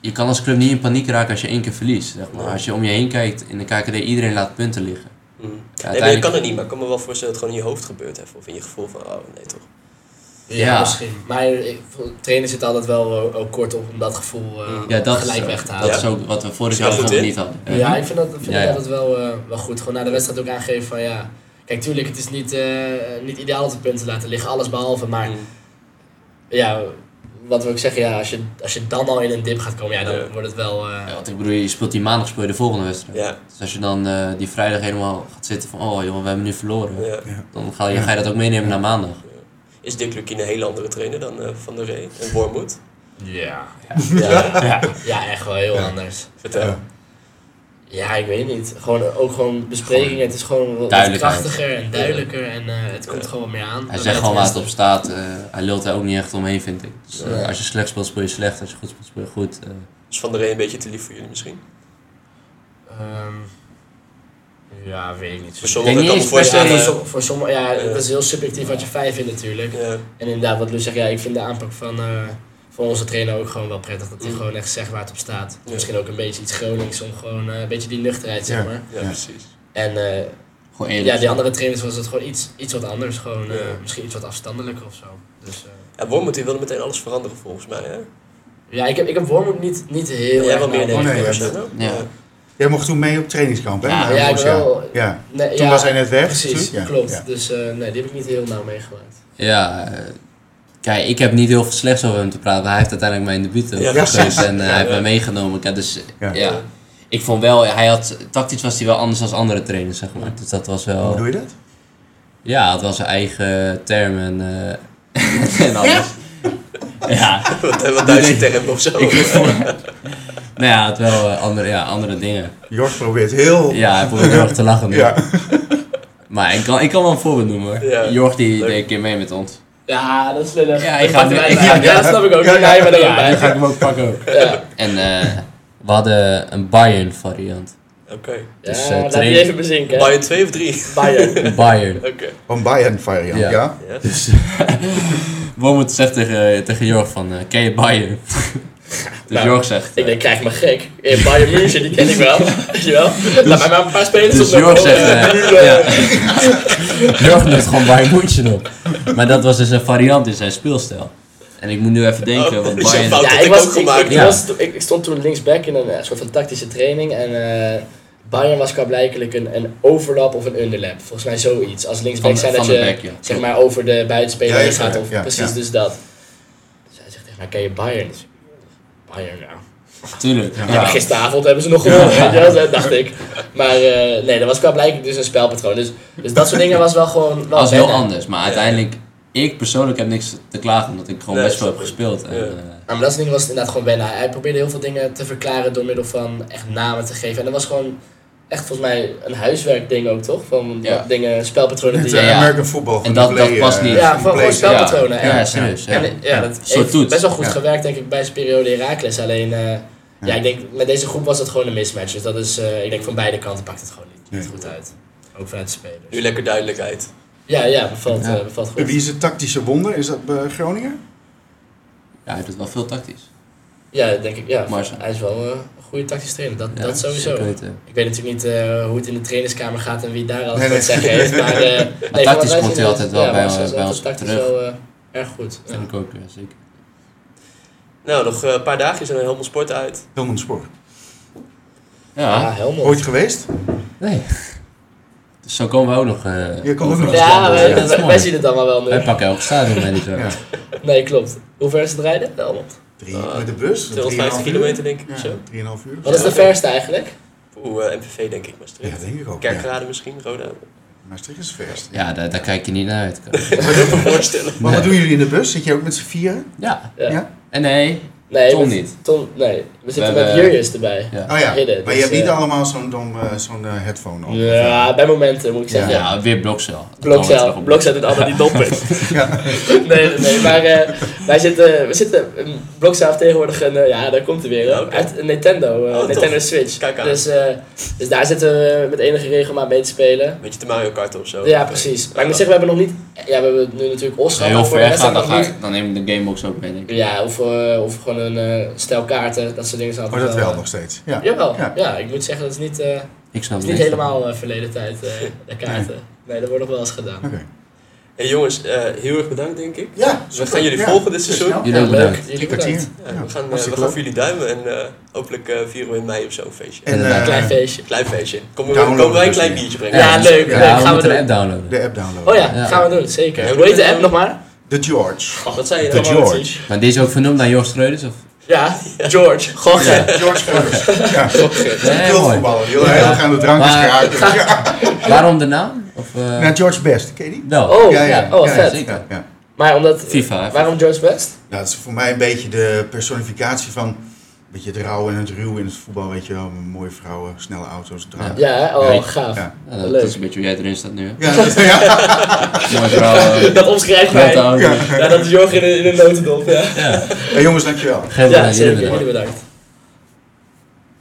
Je kan als club niet in paniek raken als je één keer verliest. Zeg maar. Nee. Als je om je heen kijkt in de KKD, iedereen laat punten liggen. mm. Ja, nee, maar je uiteindelijk- kan het niet, maar ik kan me wel voorstellen dat het gewoon in je hoofd gebeurd heeft. Of in je gevoel van, oh nee toch. Ja, Ja. misschien. Maar ik- trainer zit altijd wel eh, ook kort op om dat gevoel eh, Mm. Ja, dat gelijk is, weg te Dat halen. is ook wat we vorig Is jaar dat goed gewoon in? niet hadden. Ja, ik vind dat, vind Ja, dat ja. altijd wel, eh, wel goed. Gewoon na de wedstrijd ook aangeven van ja... Kijk, tuurlijk, het is niet, eh, niet ideaal dat we punten laten liggen. Alles behalve, maar... Mm. ja, wat wil ik zeggen, ja, als, je, als je dan al in een dip gaat komen, ja, dan Ja. wordt het wel. eh, Ja, want ik bedoel, je speelt die maandag speel je de volgende wedstrijd. Ja, Dus als je dan eh, die vrijdag helemaal gaat zitten van, oh joh, we hebben nu verloren. ja. Dan ga je, ga je dat ook meenemen naar maandag. Is Dick Lukien een hele andere trainer dan eh, Van der Rey en Wormoed? ja. Ja, Ja. echt wel heel Ja. anders. vertel. Ja. Ja, ik weet niet. Gewoon, eh, ook gewoon besprekingen, het is gewoon wat Duidelijkheid. krachtiger en duidelijker en eh, het komt Ja. gewoon meer aan. Hij Bij zegt de gewoon waar het op tennis- staat. eh, hij lult daar ook niet echt omheen, vind ik. Dus, eh, Nee. Als je slecht speelt, speel je slecht. Als je goed speelt, speel je goed. eh. Is Van der Rey een beetje te lief voor jullie misschien? Ehm, ja, weet ik niet. Voor zo. sommigen niet kan ik me eens per se- Ja, voor voorstellen... som- voor sommigen, ja, Ja. dat is heel subjectief wat je fijn vindt natuurlijk. ja. En inderdaad, wat Lu zegt, ja, ik vind de aanpak van, eh, van onze trainer ook gewoon wel prettig. Dat hij Mm. gewoon echt zegt waar het op staat. Ja. Misschien ook een beetje iets Gronings om gewoon eh, een beetje die nuchterheid, zeg Ja. maar. Ja, Ja. precies. En eh, gewoon eerlijk. ja, die andere trainers was het gewoon iets, iets wat anders. Gewoon, eh, Ja. Misschien iets wat afstandelijker of zo. Dus, eh, En Wormoed die wilde meteen alles veranderen volgens mij, hè? ja, ik heb, ik heb Wormoed niet, niet heel Jij erg wel meer nagedacht. Oh, denk ik. nee, volgens ja, mij, hè? ja. Jij mocht toen mee op trainingskamp, hè? Ja, Na ja, ik ons jaar. wel. Ja. Nee, Toen ja, was hij net weg. Precies, natuurlijk. Ja, klopt. ja. Dus eh, nee, die heb ik niet heel nauw meegemaakt. Ja, eh, kijk, ik heb niet heel veel slechts over hem te praten, maar hij heeft uiteindelijk mijn debuut ook Ja, gespeeld precies. en eh, Ja, hij heeft ja. mij meegenomen. Kijk, dus Ja. ja. ik vond wel, hij had, tactisch was hij wel anders dan andere trainers, zeg maar. Dus dat was Hoe doe wel, je dat? ja, het was zijn eigen term en, eh, en alles. Ja, Wat, eh, wat Duitse term of zo. ik vond, nou ja, het wel eh, andere, ja, andere dingen. Jort probeert heel... Ja, hij probeert heel erg te lachen nu. Ja. Maar ik kan, ik kan wel een voorbeeld noemen hoor. Ja. Jorg die Leuk. deed een keer mee met ons. Ja, dat is lullig. Ja, Dat ik ga pakt nu- mij ik- bij. ja, Ja, dat snap ik ook. Ja, Ja, ja. jij bent er ook Ja, bij. die ga ik hem ook pakken ook. Ja. En eh, we hadden een Bayern variant. Oké. Dus, ja, eh, laat train- die even bezinken. Bayern 2 of 3? Bayern. Een Bayern. Oké. Van Bayern variant, ja. Ja. Ja. Dus Womert zegt tegen, tegen Jorg van, eh, ken je Bayern? dus Nou, Jorg zegt... Ik denk, krijg me gek. Eh, Bayern München, die ken ik wel. Weet je wel? Laat mij maar een paar spelers dus op de Jorg goal, zegt... eh, eh, nu, eh, ja. Jorg noemt gewoon Bayern München op. Maar dat was dus een variant in zijn speelstijl. En ik moet nu even denken, Oh, want dus je Bayern... fout. Ja, dat ik, ik was, ook ik, gemaakt ik, heb. was, ik, ik stond toen linksback in een eh, soort van tactische training. En eh, Bayern was qua blijkelijk een, een overlap of een underlap. Volgens mij zoiets. Als linksback Van- zijn dat van je de back, ja. zeg maar over de buitenspeler Ja, ja, heen gaat. Of ja, ja. precies dus dat. Dus hij zegt tegen mij, ken je Bayern? Dus ik, Bayern, nou. Tuurlijk. Ja, maar gisteravond hebben ze nog gewonnen, weet je wel, dat dacht ik. Maar eh, nee, dat was qua blijkbaar dus een spelpatroon. Dus, dus dat soort dingen was wel gewoon... Wel Dat was heel wennen. anders, maar uiteindelijk... Ik persoonlijk heb niks te klagen, omdat ik gewoon Nee, best wel heb snap ik. gespeeld. En, Ja. eh, Nou, maar dat soort dingen was het inderdaad gewoon wennen. Hij probeerde heel veel dingen te verklaren door middel van echt namen te geven. En dat was gewoon echt volgens mij een huiswerkding ook, toch? Van Ja. wat dingen, spelpatronen Het die... eh, Ja, ja. American football. van En dat- de play, dat past eh, niet. Ja, van van- play, gewoon spelpatronen. Ja, Ja, serieus. Ja. En, eh, ja, dat Soort heeft toets. best wel goed Ja. gewerkt, denk ik, bij zijn periode Herakles. Alleen, eh, ja. ik denk, met deze groep was het gewoon een mismatch. Dus dat is, eh, ik denk, van beide kanten pakt het gewoon niet, niet Nee. goed uit. Ook vanuit de spelers. Nu lekker duidelijkheid. Ja, ja, bevalt, Ja. eh, bevalt goed. Wie is het tactische wonder? Is dat bij Groningen? Ja, hij doet wel veel tactisch. Ja, denk ik, ja. Maar- Hij is wel eh, een goede tactisch trainer, dat, Ja, dat sowieso. zeker weten. Ik weet natuurlijk niet eh, hoe het in de trainingskamer gaat en wie daar alles Nee, wat nee. zeggen heeft. Maar, eh, nee, van wat tactisch wij komt zien hij is- altijd wel ja, bij- Marcel is bij altijd ons tactisch terug. wel eh, erg goed. Ja. Dat vind ik ook, ja, zeker. Nou, nog eh, een paar dagjes en dan helemaal sport uit. Helmond Spoor. Ja, Ah, Helmond. Ooit geweest? nee. Dus zo komen we ook nog... eh Je komt ook nog overal. eens Ja, landen, wij, ja. wij- dat is mooi. wij zien het allemaal wel Wij nu. pakken elk stadion dus, eh, manager. Ja. Nee, klopt. Hoe ver is het rijden? Helmond. Drie, Eh, met de bus? 250 3,5 uur? kilometer denk ik of Ja, zo. 3,5 uur. Wat is de verste eigenlijk? Oeh, eh, MPV denk ik, Ja, Maastricht. dat denk ik ook. Ja. Kerkrade misschien, Roda. Maastricht is verst. Ja, daar, daar kijk je niet naar uit. Ik kan me dat wel voorstellen. Maar wat doen jullie in de bus? Zit je ook met z'n vieren? Ja. Ja. Ja. En nee. Nee, Tom met- niet. Tom, nee. We zitten We met hebben- Jurjes erbij. Ja. Oh ja, Ridden, maar dus, je hebt niet eh, allemaal zo'n dom, eh, zo'n eh, headphone op. Ja, bij momenten moet ik Ja, zeggen. Ja. weer blokcel. Blokcel, Blokcel doet altijd die doppen. Ja. Nee, nee, maar eh, wij zitten, we zitten, Blokzaal heeft tegenwoordig een, eh, ja daar komt er weer, Ja, hoor. oké. uit een Nintendo, eh, Oh, tof. Nintendo Switch. Kijk aan. Dus, eh, dus daar zitten we met enige regelmaat mee te spelen. Beetje te Mario Kart of zo. Eh, Ja, precies. Maar ik moet zeggen, we hebben nog niet, ja we hebben nu natuurlijk Oscar, heel maar voor de ver rest gaan, hebben dan, we ga nog niet. ik, dan neem ik de gamebox ook mee, denk ik. Ja, of, eh, of gewoon een eh, stel kaarten, dat soort dingen. zijn Oh, altijd dat wel eh, nog steeds. Ja. Jawel, Ja. ja. ik moet zeggen, dat is niet, eh, dat Ik snap is het niet helemaal eh, verleden tijd, eh, de kaarten. Nee, dat wordt nog wel eens gedaan. Oké. Hey, jongens, eh, heel erg bedankt denk ik. Ja, We gaan jullie volgen dit seizoen. Ja, Jullie ook Ja, leuk. bedankt. Jullie kwartier. bedankt. Ja, we gaan, eh, we hartstikke gaan leuk. voor jullie duimen en eh, hopelijk eh, vieren we in mei of zo een feestje. En Inderdaad. eh, Klein feestje. Klein feestje. Kom, Downloaden komen wij een dus klein weer. biertje brengen. Ja, leuk, Ja, leuk. we Gaan we moeten de doen. app downloaden. de app downloaden. Oh ja, Ja. gaan we doen, zeker. Ja. Hoe heet de app nog maar? De George. Wat zei je De nou? George. Maar die is ook vernoemd naar Joost Schreuders? Of? Ja, George. Goch. Ja. George George. Ja, Nee, heel mooi. voetballer. Heel heel erg aan de drankjes Maar- geraakt. Ja. Waarom de naam? Of, eh, Naar George Best, ken je die? wel. Oh, ja, ja. oh, ja, vet. Ja, ja. Maar omdat... FIFA. Waarom George Best? Nou, dat is voor mij een beetje de personificatie van een beetje het rauw en het ruw in het voetbal, weet je wel. Mooie vrouwen, snelle auto's, drank. Ja, hè? Oh, Nee. gaaf. Ja. Ja, dat Leuk. is een beetje hoe jij erin staat nu. hè. Ja, dat- ja. Mooi verhaal. eh, Dat omschrijft mij. Grote auto. Ja, dat is Jorg in een, in een notendop, ja. Hey, jongens, dankjewel. Geen Ja, probleem, zeker. jullie bedankt. Jullie bedankt.